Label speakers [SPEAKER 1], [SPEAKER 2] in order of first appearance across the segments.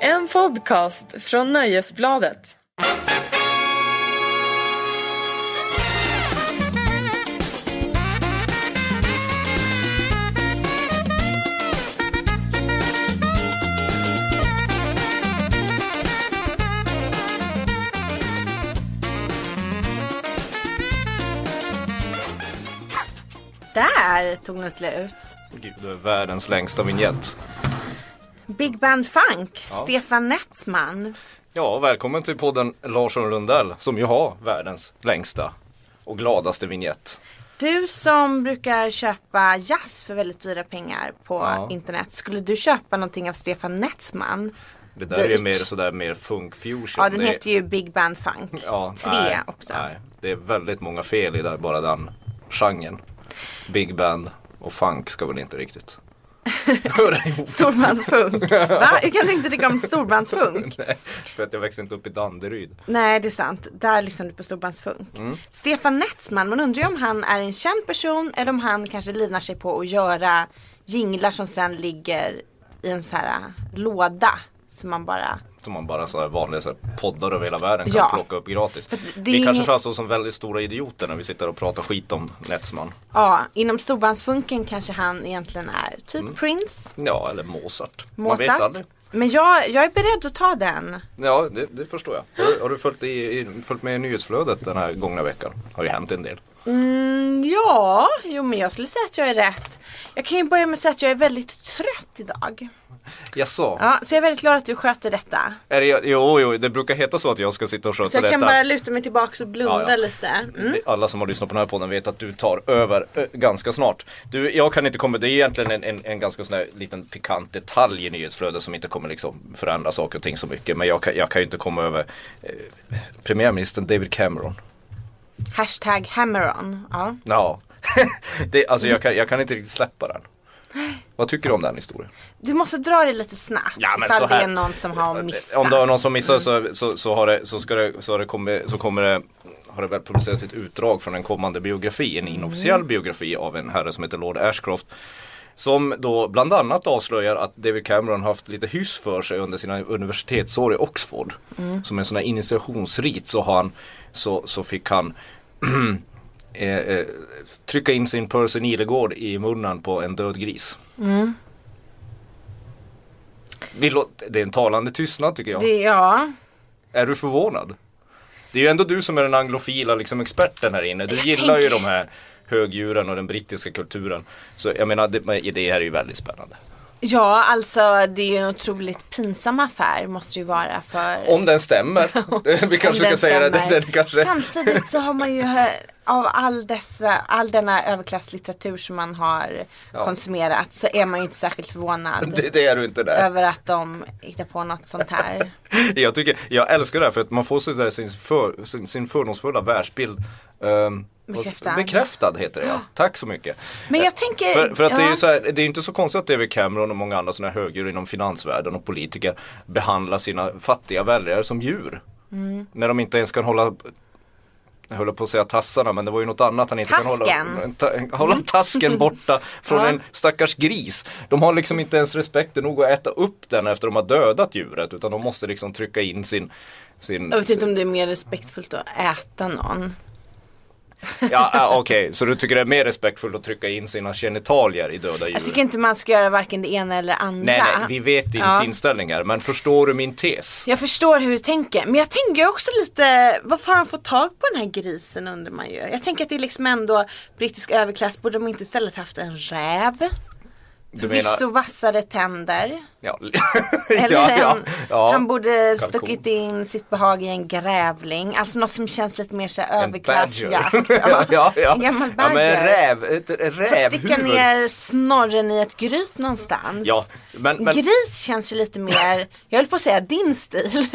[SPEAKER 1] En podcast från Nöjesbladet.
[SPEAKER 2] Där tog den slut.
[SPEAKER 3] Gud, du är världens längsta vignett.
[SPEAKER 2] Big Band Funk, Stefan Netsman.
[SPEAKER 3] Ja, välkommen till podden Larsson Lundell som ju har världens längsta och gladaste vignett.
[SPEAKER 2] Du som brukar köpa jazz för väldigt dyra pengar på
[SPEAKER 3] Ja.
[SPEAKER 2] internet. Skulle du köpa någonting av Stefan Netsman?
[SPEAKER 3] Det där är ju
[SPEAKER 2] Dyrt.
[SPEAKER 3] mer sådär mer funk fusion.
[SPEAKER 2] Ja, den
[SPEAKER 3] Det är-
[SPEAKER 2] heter ju Big Band Funk
[SPEAKER 3] ja,
[SPEAKER 2] 3
[SPEAKER 3] nej,
[SPEAKER 2] också.
[SPEAKER 3] Nej, det är väldigt många fel i där, bara den genren. Big band och funk ska väl inte riktigt höra ihop.
[SPEAKER 2] Storbandsfunk. Va? Hur kan du inte tycka om storbandsfunk?
[SPEAKER 3] Nej, För att jag växte inte upp i Danderyd.
[SPEAKER 2] Nej, det är sant. Där lyssnar du på storbandsfunk.
[SPEAKER 3] Mm.
[SPEAKER 2] Stefan Netsman, man undrar ju om han är en känd person eller om han kanske livnar sig på att göra jinglar som sen ligger i en så här äh, låda. Som man bara
[SPEAKER 3] Som man bara sådär vanliga sådär poddar över hela världen kan
[SPEAKER 2] Ja.
[SPEAKER 3] plocka upp gratis.
[SPEAKER 2] det är
[SPEAKER 3] Vi kanske
[SPEAKER 2] inget-
[SPEAKER 3] framstår som väldigt stora idioter när vi sitter och pratar skit om Netsman.
[SPEAKER 2] Ja, inom storbandsfunken kanske han egentligen är typ Prince,
[SPEAKER 3] Ja, eller Mozart. Mm. Man vet
[SPEAKER 2] Mozart.
[SPEAKER 3] aldrig.
[SPEAKER 2] Men jag, jag är beredd att ta den.
[SPEAKER 3] Ja, det, det förstår jag. Har du, har du följt, i, i, följt med i nyhetsflödet den här gångna veckan? har ju hänt en del.
[SPEAKER 2] Mm, ja, jo men jag skulle säga att jag är rätt. Jag kan ju börja med att säga att jag är väldigt trött idag.
[SPEAKER 3] Jaså?
[SPEAKER 2] Ja, så jag är väldigt glad att du sköter detta.
[SPEAKER 3] Är det, jo, jo, det brukar heta så att jag ska sitta och sköta
[SPEAKER 2] Så jag
[SPEAKER 3] detta.
[SPEAKER 2] kan bara luta mig tillbaka och blunda
[SPEAKER 3] Ja, ja.
[SPEAKER 2] lite. Mm.
[SPEAKER 3] Det- Alla som har lyssnat på den här podden vet att du tar över ö, ganska snart. Du, jag kan inte komma, det är egentligen en, en, en ganska sån här liten pikant detalj i nyhetsflödet som inte kommer liksom förändra saker och ting så mycket. Men jag kan, jag kan ju inte komma över eh, premiärministern David Cameron.
[SPEAKER 2] Hashtag hammeron. Ja.
[SPEAKER 3] Ja, det, alltså jag kan, jag kan inte riktigt släppa den. Vad tycker du om den historien?
[SPEAKER 2] Du måste dra det lite snabbt
[SPEAKER 3] Ja, men
[SPEAKER 2] ifall
[SPEAKER 3] så här-
[SPEAKER 2] det är någon som har missat.
[SPEAKER 3] Om det är någon som missar så, så, så, har det, så, ska det, så, har det kommit, så kommer det har det väl publicerats ett utdrag från en kommande biografi, en inofficiell biografi av en herre som heter Lord Ashcroft. Som då bland annat avslöjar att David Cameron haft lite hyss för sig under sina universitetsår i Oxford. Som en sån här initiationsrit så, har han, så, så fick han eh, eh, trycka in sin Percy Nilegård i munnen på en död gris.
[SPEAKER 2] Mm.
[SPEAKER 3] Vi låter, det är en talande tystnad tycker jag.
[SPEAKER 2] Det, ja.
[SPEAKER 3] Är du förvånad? Det är ju ändå du som är den anglofila liksom, experten här inne. Du
[SPEAKER 2] Jag
[SPEAKER 3] gillar
[SPEAKER 2] tänker-
[SPEAKER 3] ju de här högdjuren och den brittiska kulturen. Så jag menar, det, men det här är ju väldigt spännande.
[SPEAKER 2] ja, alltså det är ju en otroligt pinsam affär måste det ju vara för
[SPEAKER 3] Om den stämmer. vi
[SPEAKER 2] Om
[SPEAKER 3] kanske
[SPEAKER 2] den
[SPEAKER 3] ska säga det. Den,
[SPEAKER 2] stämmer.
[SPEAKER 3] den kanske...
[SPEAKER 2] Samtidigt så har man ju hö- av all, dessa, all denna överklasslitteratur som man har
[SPEAKER 3] Ja.
[SPEAKER 2] konsumerat så är man ju inte särskilt förvånad
[SPEAKER 3] Det, det är du inte där.
[SPEAKER 2] över att de hittar på något sånt här.
[SPEAKER 3] Jag, tycker, jag älskar det här för att man får så där sin, för, sin, sin fördomsfulla världsbild ehm,
[SPEAKER 2] Bekräftad.
[SPEAKER 3] bekräftad heter det ja. Tack så mycket.
[SPEAKER 2] Men jag tänker,
[SPEAKER 3] För, för att det är
[SPEAKER 2] ja.
[SPEAKER 3] ju så här, det är ju inte så konstigt att David Cameron och många andra sådana här högdjur inom finansvärlden och politiker behandlar sina fattiga väljare som djur.
[SPEAKER 2] Mm.
[SPEAKER 3] När de inte ens kan hålla jag höll på att säga tassarna men det var ju något annat han inte kan
[SPEAKER 2] Tasken. Mm.
[SPEAKER 3] hålla. Ta, hålla tasken borta från
[SPEAKER 2] Ja.
[SPEAKER 3] en stackars gris. De har liksom inte ens respekten nog att äta upp den efter de har dödat djuret utan de måste liksom trycka in sin, sin
[SPEAKER 2] Jag vet inte om det är mer respektfullt att äta någon.
[SPEAKER 3] Ja, ja, Okej, så du tycker det är mer respektfullt att trycka in sina genitalier i döda djur?
[SPEAKER 2] Jag tycker inte man ska göra varken det ena eller det andra.
[SPEAKER 3] Nej, nej, vi vet inte
[SPEAKER 2] Ja.
[SPEAKER 3] inställningar. Men förstår du min tes?
[SPEAKER 2] Jag förstår hur du tänker, men jag tänker också lite, varför har de fått tag på den här grisen undrar man ju. Jag tänker att det är liksom ändå brittisk överklass, borde de inte istället haft en räv?
[SPEAKER 3] Du
[SPEAKER 2] Förvisso vassare tänder.
[SPEAKER 3] Ja,
[SPEAKER 2] Eller
[SPEAKER 3] ja,
[SPEAKER 2] en,
[SPEAKER 3] ja, ja.
[SPEAKER 2] han borde
[SPEAKER 3] Kalkon.
[SPEAKER 2] stuckit in sitt behag i en grävling. Alltså något som känns lite mer så här
[SPEAKER 3] En badger.
[SPEAKER 2] överklassjakt.
[SPEAKER 3] ja, ja, ja.
[SPEAKER 2] En gammal
[SPEAKER 3] Ja, men en
[SPEAKER 2] badger.
[SPEAKER 3] räv, ett ett
[SPEAKER 2] Fått Sticka
[SPEAKER 3] rävhuvud.
[SPEAKER 2] ner snorren i ett gryt någonstans.
[SPEAKER 3] Ja, men, men
[SPEAKER 2] Gris känns ju lite mer, jag höll på att säga din stil.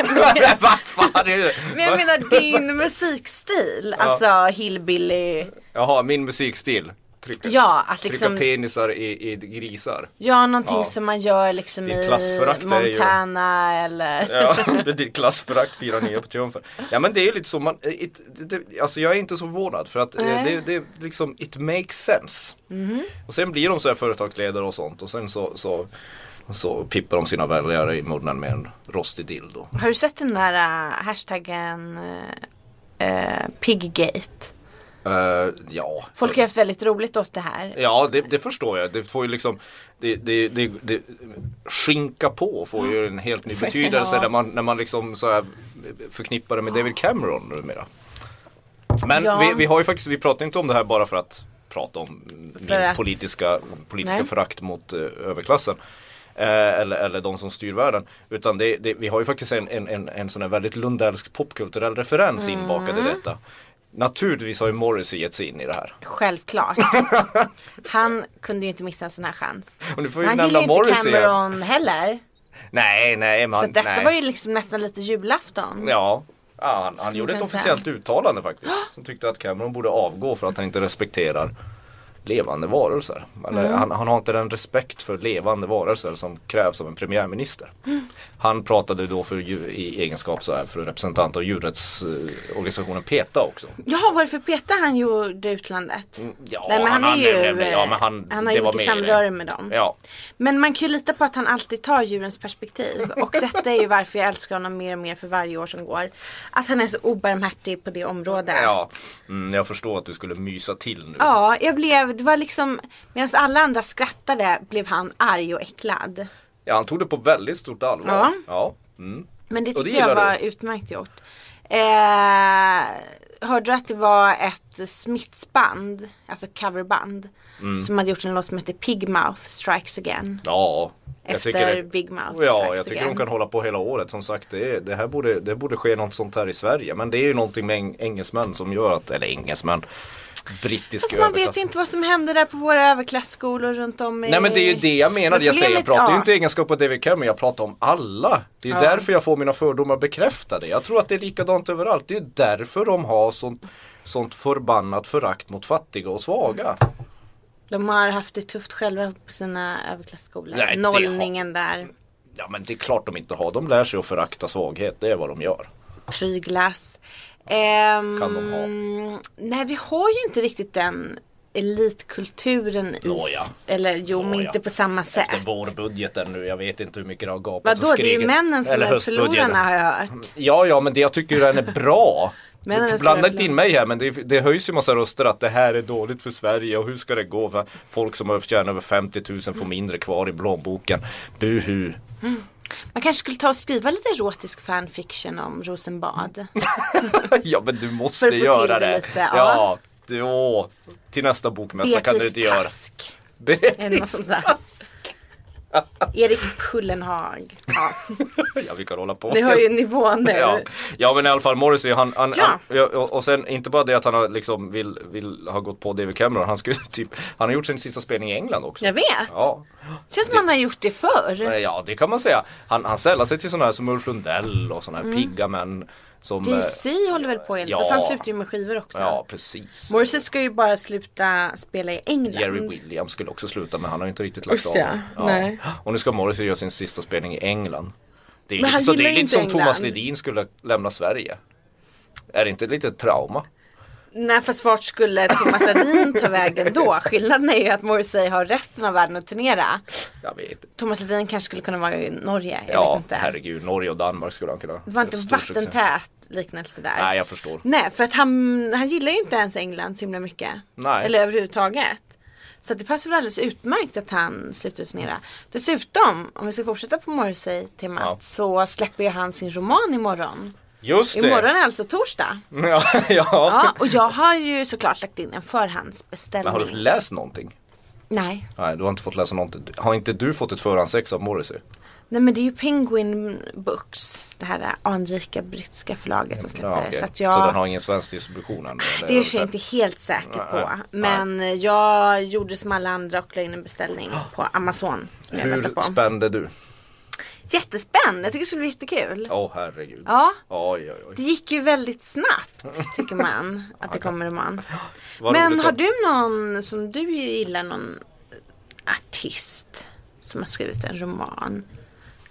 [SPEAKER 3] vad fan är det?
[SPEAKER 2] Men jag
[SPEAKER 3] Va?
[SPEAKER 2] menar din musikstil, alltså hillbilly.
[SPEAKER 3] Jaha, min musikstil. Trycka,
[SPEAKER 2] Ja, att liksom-
[SPEAKER 3] trycka penisar i, i grisar.
[SPEAKER 2] Ja, någonting
[SPEAKER 3] Ja.
[SPEAKER 2] som man gör liksom
[SPEAKER 3] Det är
[SPEAKER 2] i
[SPEAKER 3] klassförakt, det är ju-
[SPEAKER 2] Montana eller
[SPEAKER 3] Ja, det är ditt klassförakt, fyra nya på triumfer. Ja men det är ju lite så, man, eh, it, det, alltså jag är inte så förvånad för att eh, det,
[SPEAKER 2] Nej.
[SPEAKER 3] det är liksom, it makes sense. Och sen blir de så här företagsledare och sånt och sen så, så Och så pippar de sina väljare i munnen med en rostig dildo.
[SPEAKER 2] Har du sett den där eh, hashtaggen eh, Piggate?
[SPEAKER 3] Eh, ja.
[SPEAKER 2] Folk har haft väldigt roligt åt det här.
[SPEAKER 3] Ja, det, det förstår jag. Det får ju liksom det, det, det, det, Skinka på får ju en helt ny betydelse
[SPEAKER 2] Ja.
[SPEAKER 3] när man, när man liksom så här förknippar det med David Cameron numera. Men
[SPEAKER 2] Ja.
[SPEAKER 3] vi, vi har ju faktiskt, vi pratar inte om det här bara för att prata om
[SPEAKER 2] För
[SPEAKER 3] min
[SPEAKER 2] att-
[SPEAKER 3] politiska, politiska
[SPEAKER 2] Nej.
[SPEAKER 3] förakt mot eh, överklassen. Eh, eller, eller de som styr världen. Utan det, det, vi har ju faktiskt en, en, en, en sån här väldigt lundellsk popkulturell referens inbakad
[SPEAKER 2] Mm.
[SPEAKER 3] i detta. Naturligtvis har ju Morrissey gett sig in i det här.
[SPEAKER 2] Självklart. Han kunde ju inte missa en sån här chans.
[SPEAKER 3] Och du får ju
[SPEAKER 2] Han
[SPEAKER 3] nämna
[SPEAKER 2] gillar ju inte
[SPEAKER 3] Morrissey här.
[SPEAKER 2] Cameron heller.
[SPEAKER 3] Nej, nej, man,
[SPEAKER 2] Så att detta
[SPEAKER 3] nej.
[SPEAKER 2] var ju liksom nästan lite julafton.
[SPEAKER 3] Ja, ja han, han gjorde ett
[SPEAKER 2] man säga.
[SPEAKER 3] officiellt uttalande faktiskt. Som tyckte att Cameron borde avgå för att han inte respekterar levande varelser. Eller,
[SPEAKER 2] Mm.
[SPEAKER 3] han, han har inte den respekt för levande varelser som krävs av en premiärminister. Han pratade då för, djur- i egenskap så här, för representant av djurrättsorganisationen PETA också.
[SPEAKER 2] Jaha, vad är det för peta han gjorde i utlandet?
[SPEAKER 3] Mm, Ja,
[SPEAKER 2] Nej, men han, är ju,
[SPEAKER 3] ja, men han,
[SPEAKER 2] han har
[SPEAKER 3] det
[SPEAKER 2] ju
[SPEAKER 3] var
[SPEAKER 2] mycket
[SPEAKER 3] med i det.
[SPEAKER 2] samröre med dem.
[SPEAKER 3] Ja,
[SPEAKER 2] Men man kan ju lita på att han alltid tar djurens perspektiv. Och detta är ju varför jag älskar honom mer och mer för varje år som går. Att han är så obarmhärtig på det området.
[SPEAKER 3] ja. Mm, jag förstår att du skulle mysa till nu.
[SPEAKER 2] Ja, jag blev, det var liksom, medan alla andra skrattade blev han arg och äcklad.
[SPEAKER 3] Ja, han tog det på väldigt stort allvar.
[SPEAKER 2] Ja.
[SPEAKER 3] Ja. Mm.
[SPEAKER 2] Men det
[SPEAKER 3] Och det
[SPEAKER 2] tyckte jag
[SPEAKER 3] gillar
[SPEAKER 2] var
[SPEAKER 3] du?
[SPEAKER 2] utmärkt gjort. Eh, hörde du att det var ett smittsband, alltså coverband,
[SPEAKER 3] Mm.
[SPEAKER 2] som hade gjort en låt som heter Pig Mouth Strikes Again.
[SPEAKER 3] Ja, jag
[SPEAKER 2] Efter
[SPEAKER 3] tycker det,
[SPEAKER 2] Big Mouth
[SPEAKER 3] Ja,
[SPEAKER 2] Strikes
[SPEAKER 3] jag tycker
[SPEAKER 2] Again.
[SPEAKER 3] de kan hålla på hela året. Som sagt, det, är- det här borde, det borde ske något sånt här i Sverige. Men det är ju någonting med eng- engelsmän som gör att, eller engelsmän, brittisk
[SPEAKER 2] Alltså man vet
[SPEAKER 3] överklass.
[SPEAKER 2] ju inte vad som händer där på våra överklassskolor runt om i...
[SPEAKER 3] Nej men det är ju det jag menar.
[SPEAKER 2] Men
[SPEAKER 3] Jag, säger, jag
[SPEAKER 2] problemet-
[SPEAKER 3] pratar ju
[SPEAKER 2] ja.
[SPEAKER 3] inte i egenskap av David Cameron, jag pratar om alla. Det är ju därför jag får mina fördomar bekräftade. Jag tror att det är likadant överallt. Det är därför de har sånt, sånt förbannat förakt mot fattiga och svaga.
[SPEAKER 2] De har haft det tufft själva på sina överklassskolor.
[SPEAKER 3] Nej, det har-
[SPEAKER 2] Nollningen där,
[SPEAKER 3] Ja men det är klart de inte har. De lär sig att förakta svaghet, det är vad de gör.
[SPEAKER 2] pryglas. Ehm,
[SPEAKER 3] Kan de ha.
[SPEAKER 2] Nej vi har ju inte riktigt den elitkulturen i...
[SPEAKER 3] Nåja.
[SPEAKER 2] Eller jo men
[SPEAKER 3] Nåja.
[SPEAKER 2] inte på samma sätt.
[SPEAKER 3] Efter vårbudgeten nu, jag vet inte hur mycket det har gapat och
[SPEAKER 2] Vadå det är ju
[SPEAKER 3] skrikit.
[SPEAKER 2] männen som
[SPEAKER 3] Eller
[SPEAKER 2] är
[SPEAKER 3] höstbudgeten.
[SPEAKER 2] förlorarna har jag hört.
[SPEAKER 3] Ja, ja, men det jag tycker den är bra.
[SPEAKER 2] Männen är
[SPEAKER 3] Du-
[SPEAKER 2] stora
[SPEAKER 3] Blanda inte in
[SPEAKER 2] förlorare.
[SPEAKER 3] mig här, men det, det höjs ju massa röster att det här är dåligt för Sverige och hur ska det gå? För folk som har tjänat över 50 000 får mindre kvar i plånboken. Buhu.
[SPEAKER 2] Man kanske skulle ta och skriva lite erotisk fanfiction om Rosenbad.
[SPEAKER 3] ja, men du måste
[SPEAKER 2] För att få
[SPEAKER 3] göra
[SPEAKER 2] till det
[SPEAKER 3] det.
[SPEAKER 2] lite,
[SPEAKER 3] ja.
[SPEAKER 2] ja.
[SPEAKER 3] du- åh. Till nästa bokmässa kan du inte
[SPEAKER 2] Beatrice
[SPEAKER 3] göra.
[SPEAKER 2] Task. Eller något
[SPEAKER 3] Beatrice
[SPEAKER 2] sånt där. Erik Pullenhag. Ja,
[SPEAKER 3] Ja, vi kan hålla på.
[SPEAKER 2] ni hör ju nivån nu.
[SPEAKER 3] Ja. ja men i alla fall Morrissey han, han,
[SPEAKER 2] Ja.
[SPEAKER 3] han ja, och och sen inte bara det att han har liksom vill, vill ha gått på David Cameron, han skulle typ, han har gjort sin sista spelning i England också.
[SPEAKER 2] Jag vet.
[SPEAKER 3] Ja,
[SPEAKER 2] Känns som man har gjort det förr.
[SPEAKER 3] Nej, ja det kan man säga. Han, han sällar sig till sådana här som Ulf Lundell och
[SPEAKER 2] Mm.
[SPEAKER 3] sådana här pigga män som... eh,
[SPEAKER 2] JC håller väl på enligt,
[SPEAKER 3] Ja.
[SPEAKER 2] fast han slutar ju med skivor också.
[SPEAKER 3] Ja precis.
[SPEAKER 2] Morrissey ska ju bara sluta spela i England.
[SPEAKER 3] Jerry Williams skulle också sluta men han har ju inte riktigt lagt
[SPEAKER 2] Usch,
[SPEAKER 3] av.
[SPEAKER 2] ja. Nej.
[SPEAKER 3] Och nu ska Morrissey göra sin sista spelning i England. Det är
[SPEAKER 2] Men
[SPEAKER 3] lite,
[SPEAKER 2] han
[SPEAKER 3] så det
[SPEAKER 2] gillar
[SPEAKER 3] är
[SPEAKER 2] ju
[SPEAKER 3] lite
[SPEAKER 2] inte
[SPEAKER 3] som Thomas
[SPEAKER 2] England.
[SPEAKER 3] Ledin skulle lämna Sverige. Är det inte lite trauma?
[SPEAKER 2] Nej fast vart skulle Thomas Ledin ta vägen då? Skillnaden är ju att Morrissey har resten av världen att turnera.
[SPEAKER 3] Jag vet inte.
[SPEAKER 2] Thomas Ledin kanske skulle kunna vara i Norge. Jag vet
[SPEAKER 3] Ja,
[SPEAKER 2] inte.
[SPEAKER 3] herregud. Norge och Danmark skulle han kunna.
[SPEAKER 2] Det var inte
[SPEAKER 3] stor succé.
[SPEAKER 2] vattentät liknelse där.
[SPEAKER 3] Nej, jag förstår.
[SPEAKER 2] Nej, för att han, han gillar ju inte ens England så himla mycket.
[SPEAKER 3] Nej.
[SPEAKER 2] Eller överhuvudtaget. Så att det passar väl alldeles utmärkt att han slutar turnera. Dessutom, om vi ska fortsätta på Morrissey-temat,
[SPEAKER 3] Ja.
[SPEAKER 2] så släpper ju han sin roman imorgon.
[SPEAKER 3] Just det.
[SPEAKER 2] Imorgon är alltså torsdag.
[SPEAKER 3] Ja, ja.
[SPEAKER 2] Ja, och jag har ju såklart lagt in en
[SPEAKER 3] Men
[SPEAKER 2] förhandsbeställning.
[SPEAKER 3] har du läst någonting?
[SPEAKER 2] Nej.
[SPEAKER 3] Nej, du har inte fått läsa någonting. Har inte du fått ett förhandsex av Morrissey?
[SPEAKER 2] Nej men det är ju Penguin Books, det här anrika brittiska förlaget som släpper det.
[SPEAKER 3] Ja, okej.
[SPEAKER 2] Så att jag...
[SPEAKER 3] så den har ingen svensk distribution än? eller?
[SPEAKER 2] Det är jag inte helt säker på. Men jag gjorde som alla andra och la in en beställning på Amazon. Som jag väntar
[SPEAKER 3] Hur
[SPEAKER 2] på.
[SPEAKER 3] spände du?
[SPEAKER 2] Jättespänd. Jag tycker det skulle bli jättekul.
[SPEAKER 3] Åh herregud.
[SPEAKER 2] Ja.
[SPEAKER 3] Oj, oj, oj.
[SPEAKER 2] Det gick ju väldigt snabbt tycker man att det kommer roman.
[SPEAKER 3] Vad
[SPEAKER 2] Men
[SPEAKER 3] roligt
[SPEAKER 2] har
[SPEAKER 3] för-
[SPEAKER 2] du någon som du gillar någon artist som har skrivit en roman?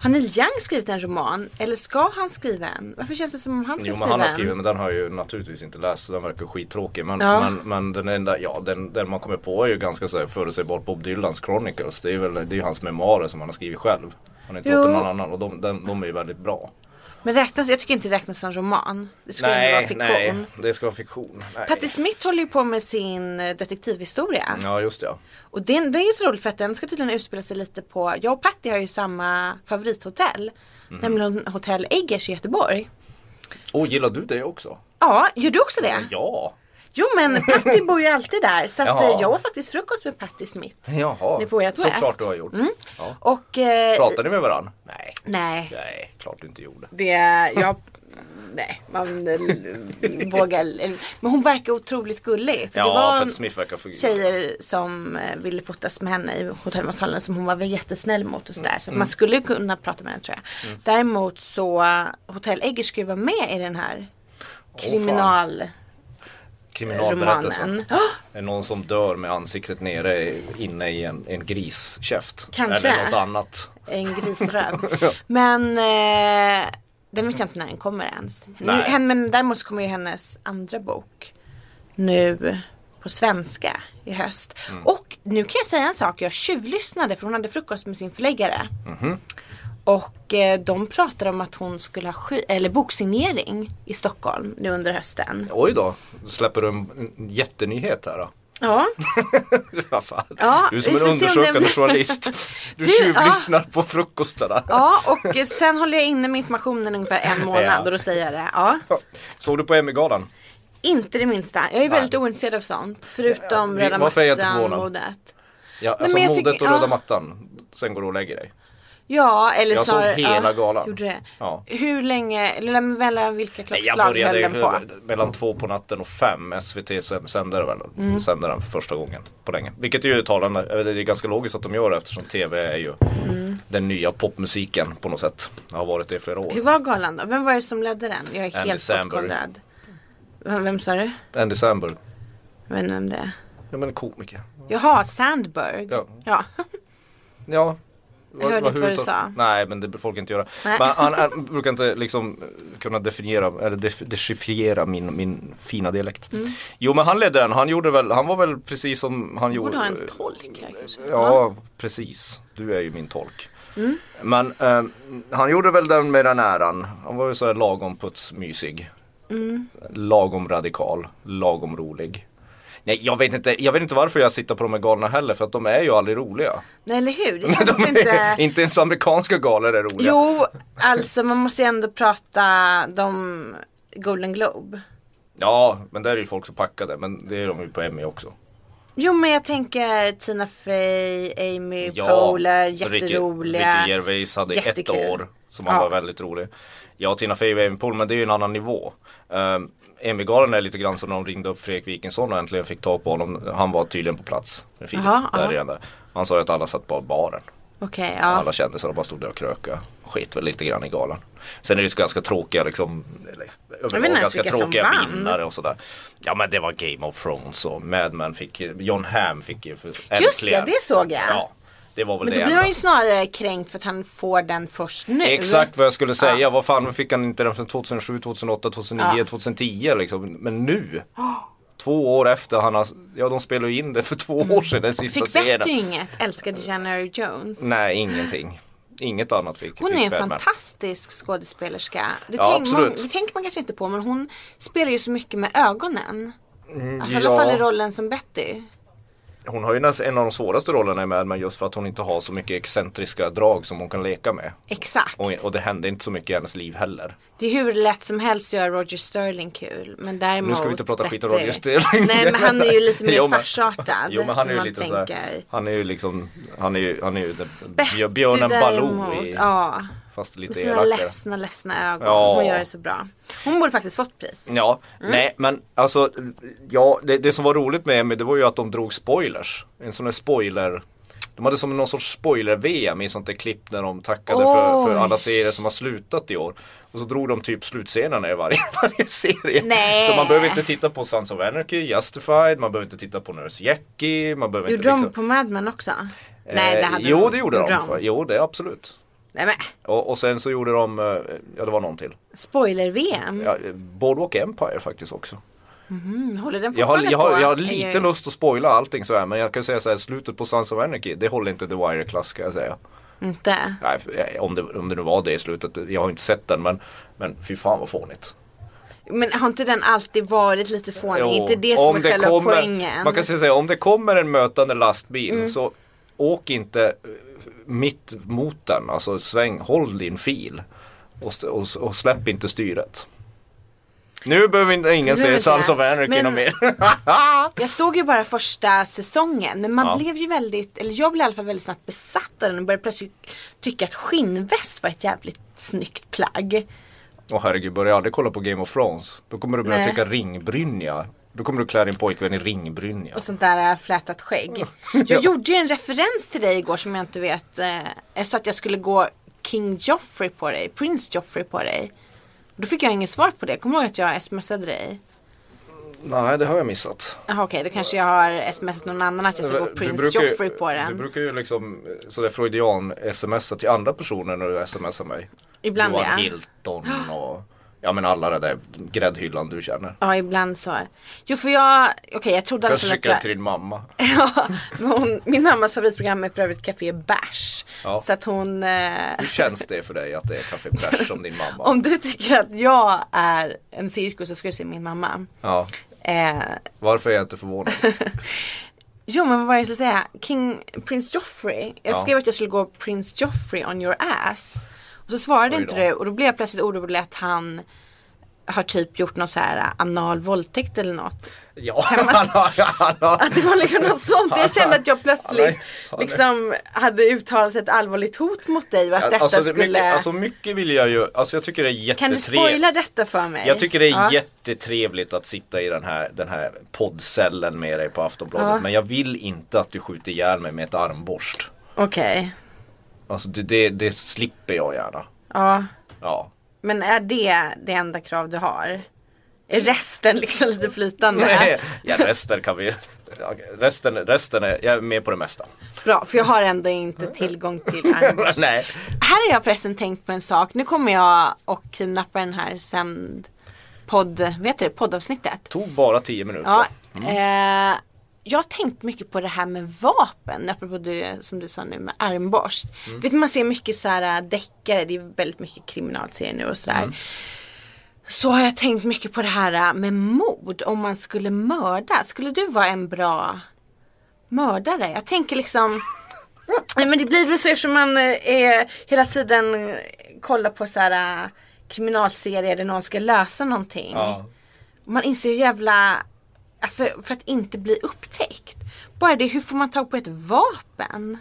[SPEAKER 2] Har Neil Young skrivit en roman? Eller ska han skriva en? Varför känns det som om han ska
[SPEAKER 3] Jo men
[SPEAKER 2] skriva
[SPEAKER 3] han har
[SPEAKER 2] en?
[SPEAKER 3] skrivit men den har jag ju naturligtvis inte läst så den verkar skittråkig. Men,
[SPEAKER 2] Ja.
[SPEAKER 3] men, men den enda, ja den, den man kommer på är ju ganska så här förutsägbart Bob Dylans Chronicles. Det är väl, det är ju hans memoarer som han har skrivit själv. Han har inte
[SPEAKER 2] Jo.
[SPEAKER 3] låtit någon annan och de, den, de är ju väldigt bra.
[SPEAKER 2] Men räknas, jag tycker inte det räknas som roman. Det skulle ju vara
[SPEAKER 3] Nej,
[SPEAKER 2] fiktion.
[SPEAKER 3] nej, det ska vara fiktion. Nej.
[SPEAKER 2] Patti Smith håller ju på med sin eh, detektivhistoria.
[SPEAKER 3] Ja just det, ja.
[SPEAKER 2] Och den, den är så rolig för att den ska tydligen utspela sig lite på, jag och Patti har ju samma favorithotell.
[SPEAKER 3] Mhm.
[SPEAKER 2] Nämligen Hotell Eggers i Göteborg.
[SPEAKER 3] Och gillar du det också?
[SPEAKER 2] Ja, gör du också det?
[SPEAKER 3] Ja!
[SPEAKER 2] Jo men Patti bor ju alltid där så att
[SPEAKER 3] Jaha.
[SPEAKER 2] eh, jag åt faktiskt frukost med Patti Smith.
[SPEAKER 3] Jaha,
[SPEAKER 2] Det är på ert
[SPEAKER 3] såklart
[SPEAKER 2] West.
[SPEAKER 3] du har gjort. Ja.
[SPEAKER 2] Och eh,
[SPEAKER 3] Pratar ni med varandra? Nej.
[SPEAKER 2] nej.
[SPEAKER 3] Nej, klart du inte gjorde.
[SPEAKER 2] Det, jag, nej, man eh, vågar. eller- Men hon verkar otroligt gullig. För det
[SPEAKER 3] Ja,
[SPEAKER 2] var
[SPEAKER 3] Patti Smith verkar fungera.
[SPEAKER 2] tjejer som eh, ville fotas med henne i hotellmatsalen som hon var väl jättesnäll mot och sådär.
[SPEAKER 3] Mm.
[SPEAKER 2] Så att man skulle ju kunna prata med henne tror jag. Däremot så, Hotell Eggers ska ju vara med i den här
[SPEAKER 3] fan.
[SPEAKER 2] kriminalromanen.
[SPEAKER 3] Kriminalberättelsen. Det är någon som dör med ansiktet nere inne i en, en griskäft.
[SPEAKER 2] Kanske.
[SPEAKER 3] Eller något annat.
[SPEAKER 2] En grisröv. Men eh, den vet jag inte när den kommer ens.
[SPEAKER 3] Nej.
[SPEAKER 2] Hen- Men däremot så kommer ju hennes andra bok nu på svenska i höst.
[SPEAKER 3] Mm.
[SPEAKER 2] Och nu kan jag säga en sak. Jag tjuvlyssnade för hon hade frukost med sin förläggare.
[SPEAKER 3] Mhm.
[SPEAKER 2] Och eh, de pratade om att hon skulle ha sky- eller boksignering i Stockholm nu under hösten.
[SPEAKER 3] Oj då, släpper du en, en jättenyhet här då?
[SPEAKER 2] Ja,
[SPEAKER 3] Vad fan.
[SPEAKER 2] Ja,
[SPEAKER 3] du är som
[SPEAKER 2] vi
[SPEAKER 3] en
[SPEAKER 2] får se om det-
[SPEAKER 3] undersökande journalist. Du,
[SPEAKER 2] Du,
[SPEAKER 3] tjuvlyssnar på frukostarna.
[SPEAKER 2] ja och eh, sen håller jag inne med informationen ungefär en månad
[SPEAKER 3] Ja.
[SPEAKER 2] och då säger jag det. Ja.
[SPEAKER 3] Såg du på Emmygalan?
[SPEAKER 2] Inte det minsta. Jag är väldigt ointresserad av sånt. Förutom
[SPEAKER 3] vi-
[SPEAKER 2] Röda
[SPEAKER 3] varför är jag inte
[SPEAKER 2] mattan,
[SPEAKER 3] förvånad?
[SPEAKER 2] modet.
[SPEAKER 3] Ja, alltså
[SPEAKER 2] men jag
[SPEAKER 3] modet
[SPEAKER 2] tycker-
[SPEAKER 3] och röda
[SPEAKER 2] ja.
[SPEAKER 3] mattan. Sen går du och lägger dig.
[SPEAKER 2] Ja, eller
[SPEAKER 3] Jag
[SPEAKER 2] så
[SPEAKER 3] såg
[SPEAKER 2] har-
[SPEAKER 3] hela
[SPEAKER 2] ja,
[SPEAKER 3] galan.
[SPEAKER 2] Gjorde det.
[SPEAKER 3] Ja.
[SPEAKER 2] Hur länge, eller när- mellan vilka
[SPEAKER 3] Nej, jag
[SPEAKER 2] klockslag höll
[SPEAKER 3] började
[SPEAKER 2] den på?
[SPEAKER 3] mellan två på natten och fem. SVT sänder, väl,
[SPEAKER 2] Mm.
[SPEAKER 3] sänder den för första gången på länge. Vilket är ju talande. Eh, Det är ganska logiskt att de gör det eftersom TV är ju
[SPEAKER 2] Mm.
[SPEAKER 3] den nya popmusiken på något sätt. Det har varit det i flera år.
[SPEAKER 2] Hur var galan då? Vem var det som ledde den? Jag är
[SPEAKER 3] Andy
[SPEAKER 2] helt
[SPEAKER 3] Samberg.
[SPEAKER 2] bortkollrad. Vem, vem sa du?
[SPEAKER 3] Andy Samberg.
[SPEAKER 2] Jag vet inte vem det är.
[SPEAKER 3] Ja men komiker.
[SPEAKER 2] Jaha, Sandberg.
[SPEAKER 3] Ja.
[SPEAKER 2] ja.
[SPEAKER 3] Ja.
[SPEAKER 2] Jag hörde inte vad du
[SPEAKER 3] huvudtal-
[SPEAKER 2] sa.
[SPEAKER 3] Nej men det får folk inte göra.
[SPEAKER 2] Nej.
[SPEAKER 3] Men han, han brukar inte liksom eh, kunna definiera eller def- dechiffrera min, min fina dialekt.
[SPEAKER 2] Mm.
[SPEAKER 3] Jo men han ledde den. Han, gjorde väl, han var väl precis som han
[SPEAKER 2] Borde
[SPEAKER 3] gjorde.
[SPEAKER 2] ha en tolk här kanske.
[SPEAKER 3] eh, Ja, precis. Du är ju min tolk.
[SPEAKER 2] Mm.
[SPEAKER 3] Men eh, han gjorde väl den med den äran. Han var ju så här lagom putsmysig.
[SPEAKER 2] Mm.
[SPEAKER 3] Lagom radikal, lagom rolig. Nej jag vet, inte, jag vet inte varför jag sitter på de här galna heller för att de är ju aldrig roliga.
[SPEAKER 2] Nej eller hur? Det känns inte...
[SPEAKER 3] inte ens amerikanska galor är roliga.
[SPEAKER 2] Jo, alltså man måste ju ändå prata de Golden Globe.
[SPEAKER 3] Ja men där är ju folk så packade men det är de ju på Emmy också.
[SPEAKER 2] Jo men jag tänker Tina Fey, Amy Poehler, jätteroliga.
[SPEAKER 3] Ricky, Ricky Gervais hade
[SPEAKER 2] Jättekul.
[SPEAKER 3] ett år som han
[SPEAKER 2] Ja.
[SPEAKER 3] var väldigt rolig. Ja, Tina Fey och Amy Poehler, men det är ju en annan nivå. Um, Emmy-galan är lite grann som när de ringde upp Fredrik Wikingsson och äntligen fick tag på honom. Han var tydligen på plats. Med Filip,
[SPEAKER 2] Aha,
[SPEAKER 3] där
[SPEAKER 2] aha.
[SPEAKER 3] igen där. Han sa ju att alla satt på baren.
[SPEAKER 2] Okej, ja.
[SPEAKER 3] Alla kändisar bara stod där och kröka. Skit väl lite grann i galan. Sen är det ju ganska tråkiga liksom, eller, överlag
[SPEAKER 2] ens
[SPEAKER 3] ganska
[SPEAKER 2] vilka som
[SPEAKER 3] tråkiga
[SPEAKER 2] vann.
[SPEAKER 3] vinnare och sådär. Ja men det var Game of Thrones och Mad Men fick, John Hamm fick ju för,
[SPEAKER 2] Just
[SPEAKER 3] äntligen.
[SPEAKER 2] ja, det såg jag.
[SPEAKER 3] Ja, det var väl
[SPEAKER 2] Men
[SPEAKER 3] det
[SPEAKER 2] då blir man
[SPEAKER 3] enda.
[SPEAKER 2] ju snarare kränkt för att han får den först nu.
[SPEAKER 3] Exakt vad jag skulle säga. Vad fan fick han inte den från 2007, 2008, 2009,
[SPEAKER 2] Ja. Oh.
[SPEAKER 3] 2010 liksom. Men nu. Två år efter han har, ja de spelade ju in det för två år sedan den sista
[SPEAKER 2] Mm. Fick
[SPEAKER 3] serien.
[SPEAKER 2] Betty inget? Älskade January Jones.
[SPEAKER 3] Nej, ingenting. Inget annat fick
[SPEAKER 2] Hon är
[SPEAKER 3] fick
[SPEAKER 2] ju en
[SPEAKER 3] Mm, Batman.
[SPEAKER 2] fantastisk skådespelerska. Det,
[SPEAKER 3] Ja,
[SPEAKER 2] tänk, man,
[SPEAKER 3] absolut.
[SPEAKER 2] det tänker man kanske inte på men hon spelar ju så mycket med ögonen. Alltså, I alla
[SPEAKER 3] Mm, ja.
[SPEAKER 2] fall i rollen som Betty.
[SPEAKER 3] Hon har ju nästan en av de svåraste rollerna i Mad Men just för att hon inte har så mycket excentriska drag som hon kan leka med.
[SPEAKER 2] Exakt.
[SPEAKER 3] Och, och det hände inte så mycket i hennes liv heller.
[SPEAKER 2] Det är hur lätt som helst att göra Roger Sterling kul. Men däremot
[SPEAKER 3] Nu ska vi inte prata skit om
[SPEAKER 2] Betty-
[SPEAKER 3] Roger Sterling.
[SPEAKER 2] Nej men han är ju lite
[SPEAKER 3] Jo,
[SPEAKER 2] mer
[SPEAKER 3] men-
[SPEAKER 2] farsartad.
[SPEAKER 3] Jo men
[SPEAKER 2] om
[SPEAKER 3] han är ju
[SPEAKER 2] man
[SPEAKER 3] lite
[SPEAKER 2] tänker.
[SPEAKER 3] såhär, han är ju liksom, han är ju, han är ju den-
[SPEAKER 2] Betty
[SPEAKER 3] björnen Baloo
[SPEAKER 2] däremot,
[SPEAKER 3] i,
[SPEAKER 2] Ja.
[SPEAKER 3] fast
[SPEAKER 2] Med
[SPEAKER 3] lite
[SPEAKER 2] sina
[SPEAKER 3] elakare.
[SPEAKER 2] ledsna, ledsna ögon.
[SPEAKER 3] Ja. Mm,
[SPEAKER 2] Hon gör det så bra. Hon borde faktiskt fått pris.
[SPEAKER 3] Ja,
[SPEAKER 2] Mm.
[SPEAKER 3] nej men alltså, ja det, det som var roligt med Emmy det var ju att de drog spoilers. En sån där spoiler, de hade som någon sorts spoiler-VM i sånt där klipp när de tackade för, för
[SPEAKER 2] Oj.
[SPEAKER 3] alla serier som har slutat i år. Och så drog de typ slutscenerna i varje, varje serie.
[SPEAKER 2] Nej.
[SPEAKER 3] Så man behöver inte titta på Sons of Anarchy, Justified, man behöver inte titta på Nurse Jackie, man behöver
[SPEAKER 2] Gjorde
[SPEAKER 3] inte liksom- Eh,
[SPEAKER 2] de på Mad Men också? Nej det hade
[SPEAKER 3] jo
[SPEAKER 2] de.
[SPEAKER 3] det gjorde de. Jo det absolut.
[SPEAKER 2] Nej men,
[SPEAKER 3] Och, och sen så gjorde de, eh, ja det var någon till.
[SPEAKER 2] spoiler-VM.
[SPEAKER 3] Ja, eh, Boardwalk Empire faktiskt också.
[SPEAKER 2] Mm, Håller den
[SPEAKER 3] Jag har,
[SPEAKER 2] fortfarande
[SPEAKER 3] jag, har,
[SPEAKER 2] på?
[SPEAKER 3] jag har lite
[SPEAKER 2] Ej, ej.
[SPEAKER 3] lust att spoila allting så här men jag kan säga så här, slutet på Sons of Anarchy, det håller inte The Wire-klass ska jag säga.
[SPEAKER 2] Inte?
[SPEAKER 3] Nej, för- om det, om det nu var det i slutet, jag har inte sett den men, men fy fan vad fånigt.
[SPEAKER 2] Men har inte den alltid varit lite fånig?
[SPEAKER 3] Jo,
[SPEAKER 2] inte det som är själva
[SPEAKER 3] kommer,
[SPEAKER 2] poängen? Mm.
[SPEAKER 3] Man kan säga så här, om det kommer en mötande lastbil så åk inte eh, mitt mot den, alltså sväng, håll din fil och, s- och, s- och släpp inte styret. Nu behöver inte- ingen
[SPEAKER 2] Nu
[SPEAKER 3] säga
[SPEAKER 2] vet jag.
[SPEAKER 3] Sons of Anarchy
[SPEAKER 2] Men-
[SPEAKER 3] något mer.
[SPEAKER 2] Jag såg ju bara första säsongen men man
[SPEAKER 3] Ja.
[SPEAKER 2] blev ju väldigt, eller jag blev i alla fall väldigt snabbt besatt av den och började plötsligt tycka att skinnväst var ett jävligt snyggt plagg.
[SPEAKER 3] Åh herregud, börja aldrig kolla på Game of Thrones. Då kommer du börja
[SPEAKER 2] Nej.
[SPEAKER 3] tycka ringbrynja. Då kommer du klä din pojkvän i ringbrynja.
[SPEAKER 2] Och sånt där äh, flätat
[SPEAKER 3] Mm.
[SPEAKER 2] skägg. Jag gjorde ju en referens till dig igår som jag inte vet. eh, Jag sa att jag skulle gå King Joffrey på dig, Prince Joffrey på dig. Då fick jag inget svar på det. Kommer du ihåg att jag smsade dig?
[SPEAKER 3] Nej, det har jag missat.
[SPEAKER 2] Jaha okej, då kanske jag har smsat någon annan att jag ska gå Prince Alltså, Joffrey på
[SPEAKER 3] Du
[SPEAKER 2] den.
[SPEAKER 3] brukar ju liksom eh, sådär freudian smsa till andra personer när du smsar mig.
[SPEAKER 2] Ibland
[SPEAKER 3] Johan
[SPEAKER 2] ja.
[SPEAKER 3] Hilton och ja men alla det där gräddhyllan du känner.
[SPEAKER 2] Ja ibland så. Jo för jag, okej jag trodde i alla
[SPEAKER 3] Kanske
[SPEAKER 2] fall att
[SPEAKER 3] skicka
[SPEAKER 2] jag...
[SPEAKER 3] det till din mamma.
[SPEAKER 2] Ja, men hon, min mammas favoritprogram är för övrigt Café Bash.
[SPEAKER 3] Ja.
[SPEAKER 2] Så att hon, eh,
[SPEAKER 3] Hur känns det för dig att det är Café Bärs som din mamma?
[SPEAKER 2] om du tycker att jag är en cirkus så ska du se min mamma.
[SPEAKER 3] Ja,
[SPEAKER 2] Eh,
[SPEAKER 3] varför är jag inte förvånad?
[SPEAKER 2] jo men vad var det jag skulle säga? King, Prince Joffrey. Jag
[SPEAKER 3] Ja.
[SPEAKER 2] skrev att jag skulle gå Prince Joffrey on your ass. Och så svarade
[SPEAKER 3] Oj
[SPEAKER 2] inte
[SPEAKER 3] då.
[SPEAKER 2] du och då blev jag plötsligt orolig att han har typ gjort någon så här anal våldtäkt eller något.
[SPEAKER 3] Ja, han har, han har,
[SPEAKER 2] Att det var liksom något sånt. Jag kände att jag plötsligt
[SPEAKER 3] han är-
[SPEAKER 2] liksom hade uttalat ett allvarligt hot mot dig och att detta
[SPEAKER 3] alltså, det är
[SPEAKER 2] skulle
[SPEAKER 3] mycket, alltså mycket vill jag ju, alltså jag tycker det är
[SPEAKER 2] Kan du
[SPEAKER 3] jättetrevligt.
[SPEAKER 2] spoila detta för mig?
[SPEAKER 3] Jag tycker det är
[SPEAKER 2] ja.
[SPEAKER 3] jättetrevligt att sitta i den här, den här poddcellen med dig på Aftonbladet.
[SPEAKER 2] Ja.
[SPEAKER 3] Men jag vill inte att du skjuter ihjäl mig med ett armborst.
[SPEAKER 2] Okej,
[SPEAKER 3] Alltså det, det, det slipper jag gärna.
[SPEAKER 2] ja.
[SPEAKER 3] Ja.
[SPEAKER 2] Men är det det enda krav du har? Är resten liksom lite flytande?
[SPEAKER 3] Nej, ja, resten kan vi... ja, Resten, resten är, jag är med på det mesta.
[SPEAKER 2] Bra, för jag har ändå inte tillgång till armborst.
[SPEAKER 3] Nej.
[SPEAKER 2] Här har jag förresten tänkt på en sak. Nu kommer jag och kidnappa den här sänd podd, vet du det, poddavsnittet.
[SPEAKER 3] Tog bara 10 minuter. Mm.
[SPEAKER 2] Ja, eh, jag har tänkt mycket på det här med vapen, apropå det som du sa nu med armborst.
[SPEAKER 3] Mm.
[SPEAKER 2] Du vet man ser mycket så här äh, deckare, det är väldigt mycket kriminalserier nu och sådär.
[SPEAKER 3] Mm.
[SPEAKER 2] Så har jag tänkt mycket på det här äh, med mord, om man skulle mörda. Skulle du vara en bra mördare? Jag tänker liksom Nej men det blir väl så eftersom man eh, är, hela tiden eh, kollar på så här äh, kriminalserier där någon ska lösa någonting.
[SPEAKER 3] Ja.
[SPEAKER 2] Man inser ju jävla, alltså för att inte bli upptäckt. Bara det, hur får man tag på ett vapen?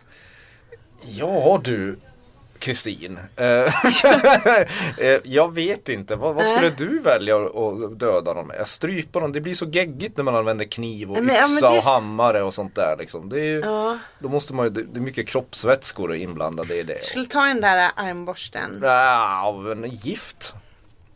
[SPEAKER 3] Ja du, Kristin. Eh, eh, jag vet inte, vad, vad skulle
[SPEAKER 2] Nej.
[SPEAKER 3] du välja att döda någon med? Strypa någon, det blir så geggigt när man använder kniv och
[SPEAKER 2] Men- ja, men
[SPEAKER 3] yxa
[SPEAKER 2] det är
[SPEAKER 3] och
[SPEAKER 2] så-
[SPEAKER 3] hammare och sånt där liksom. Det är ju,
[SPEAKER 2] Ja.
[SPEAKER 3] Då måste man ju, det det är mycket kroppsvätskor inblandade i det.
[SPEAKER 2] Jag skulle ta den där armborsten.
[SPEAKER 3] Ja, men gift.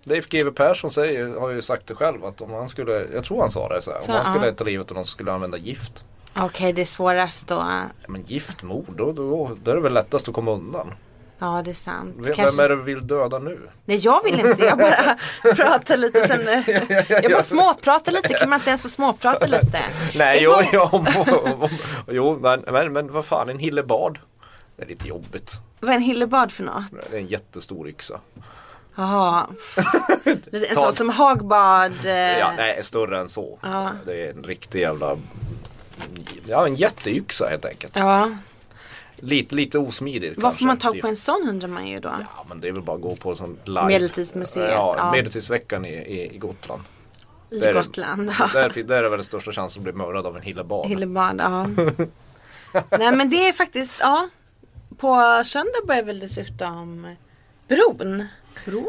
[SPEAKER 3] Leif GW Persson säger, har ju sagt det själv att om han skulle, jag tror han sa det så här,
[SPEAKER 2] Så,
[SPEAKER 3] om han
[SPEAKER 2] ja.
[SPEAKER 3] skulle ta livet av någon så skulle han använda gift.
[SPEAKER 2] Okej, det är svårast då.
[SPEAKER 3] Ja, Men giftmord, då, då, då är det väl lättast att komma undan.
[SPEAKER 2] Ja, det är sant.
[SPEAKER 3] Vem,
[SPEAKER 2] Kanske...
[SPEAKER 3] vem är det du vill döda nu?
[SPEAKER 2] Nej, jag vill inte. Jag bara pratar lite. Sen... Jag bara småpratar lite. Kan man inte ens få småprata lite?
[SPEAKER 3] Nej, jo,
[SPEAKER 2] Igång-
[SPEAKER 3] jo, om, om, om, jo men, men, men vad fan, en hillebard. Det är lite jobbigt.
[SPEAKER 2] Vad är en hillebard för något?
[SPEAKER 3] Det är en jättestor yxa.
[SPEAKER 2] Jaha. Lite- En
[SPEAKER 3] Ta-
[SPEAKER 2] sån som Hagbard. eh,
[SPEAKER 3] Ja, nej, större än så.
[SPEAKER 2] Ja.
[SPEAKER 3] Det är en riktig jävla, ja en jätteyxa helt enkelt.
[SPEAKER 2] ja.
[SPEAKER 3] Lite, lite osmidigt
[SPEAKER 2] Vad
[SPEAKER 3] kanske.
[SPEAKER 2] får man
[SPEAKER 3] Det
[SPEAKER 2] tag
[SPEAKER 3] är-
[SPEAKER 2] på en sån undrar man ju då.
[SPEAKER 3] Ja men det är väl bara att gå på som live.
[SPEAKER 2] Medeltidsmuseet,
[SPEAKER 3] Ja,
[SPEAKER 2] ja.
[SPEAKER 3] Medeltidsveckan i, i, i Gotland.
[SPEAKER 2] I
[SPEAKER 3] Där är-
[SPEAKER 2] Gotland. ja.
[SPEAKER 3] Där, fin- där är väl den största chansen att bli mördad av en hillebarn.
[SPEAKER 2] Hillebard, ja. Nej men det är faktiskt, ja. På söndag börjar väl dessutom bron. Bro?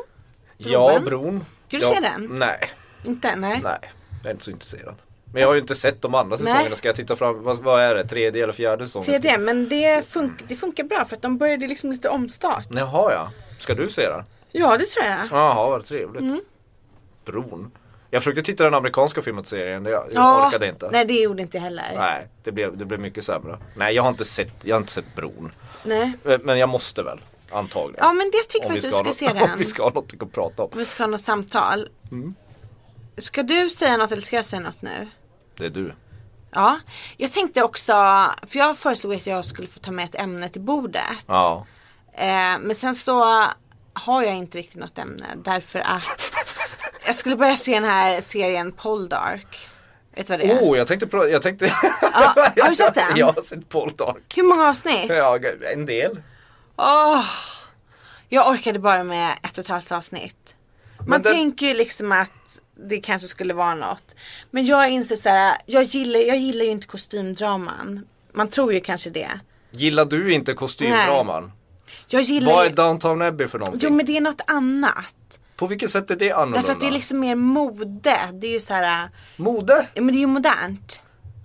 [SPEAKER 3] ja,
[SPEAKER 2] Bron.
[SPEAKER 3] bron.
[SPEAKER 2] Ska du
[SPEAKER 3] ja,
[SPEAKER 2] se den?
[SPEAKER 3] Nej,
[SPEAKER 2] Inte? Nej.
[SPEAKER 3] nej. Jag är inte så intresserad. Men jag har ju inte sett de andra säsongerna. Ska jag titta fram, vad, vad är det? Tredje eller fjärde säsongen?
[SPEAKER 2] Tredje, men det, fun- det funkar bra för att de började liksom lite omstart.
[SPEAKER 3] Jaha ja. Ska du se den?
[SPEAKER 2] Ja det tror jag.
[SPEAKER 3] Jaha, vad trevligt.
[SPEAKER 2] Mm.
[SPEAKER 3] Bron. Jag försökte titta den amerikanska filmatiseringen. Jag, jag orkade inte.
[SPEAKER 2] Nej det gjorde inte jag heller. Nej.
[SPEAKER 3] Nej, det blev, det blev mycket sämre. Nej, jag har inte sett, jag har inte sett Bron. Eh, Men jag måste väl. Antagligen.
[SPEAKER 2] Ja men det tycker
[SPEAKER 3] om, vi
[SPEAKER 2] faktiskt
[SPEAKER 3] ska
[SPEAKER 2] du
[SPEAKER 3] ha
[SPEAKER 2] ska
[SPEAKER 3] något,
[SPEAKER 2] se
[SPEAKER 3] om
[SPEAKER 2] den.
[SPEAKER 3] vi ska Mm. ha någonting att prata om.
[SPEAKER 2] Vi ska ha något samtal. Ska du säga något eller ska jag säga något nu?
[SPEAKER 3] Det är du.
[SPEAKER 2] Ja, jag tänkte också, för jag föreslog att jag skulle få ta med ett ämne till bordet.
[SPEAKER 3] Ja.
[SPEAKER 2] Eh, men sen så har jag inte riktigt något ämne därför att jag skulle börja se den här serien Poldark. Vet du vad det är?
[SPEAKER 3] Oh, jag tänkte, pra- jag tänkte
[SPEAKER 2] Ja, har du sett den?
[SPEAKER 3] Jag har sett Paul Dark.
[SPEAKER 2] Hur många avsnitt?
[SPEAKER 3] Ja, en del.
[SPEAKER 2] Åh, jag orkade bara med ett och ett halvt avsnitt. Man
[SPEAKER 3] den-
[SPEAKER 2] tänker ju liksom att det kanske skulle vara något. Men jag inser så här, jag gillar, jag gillar ju inte kostymdraman. Man tror ju kanske det.
[SPEAKER 3] Gillar du inte kostymdraman?
[SPEAKER 2] Jag gillar
[SPEAKER 3] Vad är
[SPEAKER 2] ju...
[SPEAKER 3] Downtown Abbey för någonting?
[SPEAKER 2] Jo men det är något annat.
[SPEAKER 3] På vilket sätt är det annorlunda?
[SPEAKER 2] Därför att det är liksom mer mode. Det är ju så här,
[SPEAKER 3] Mode?
[SPEAKER 2] ja, men det är ju modernt.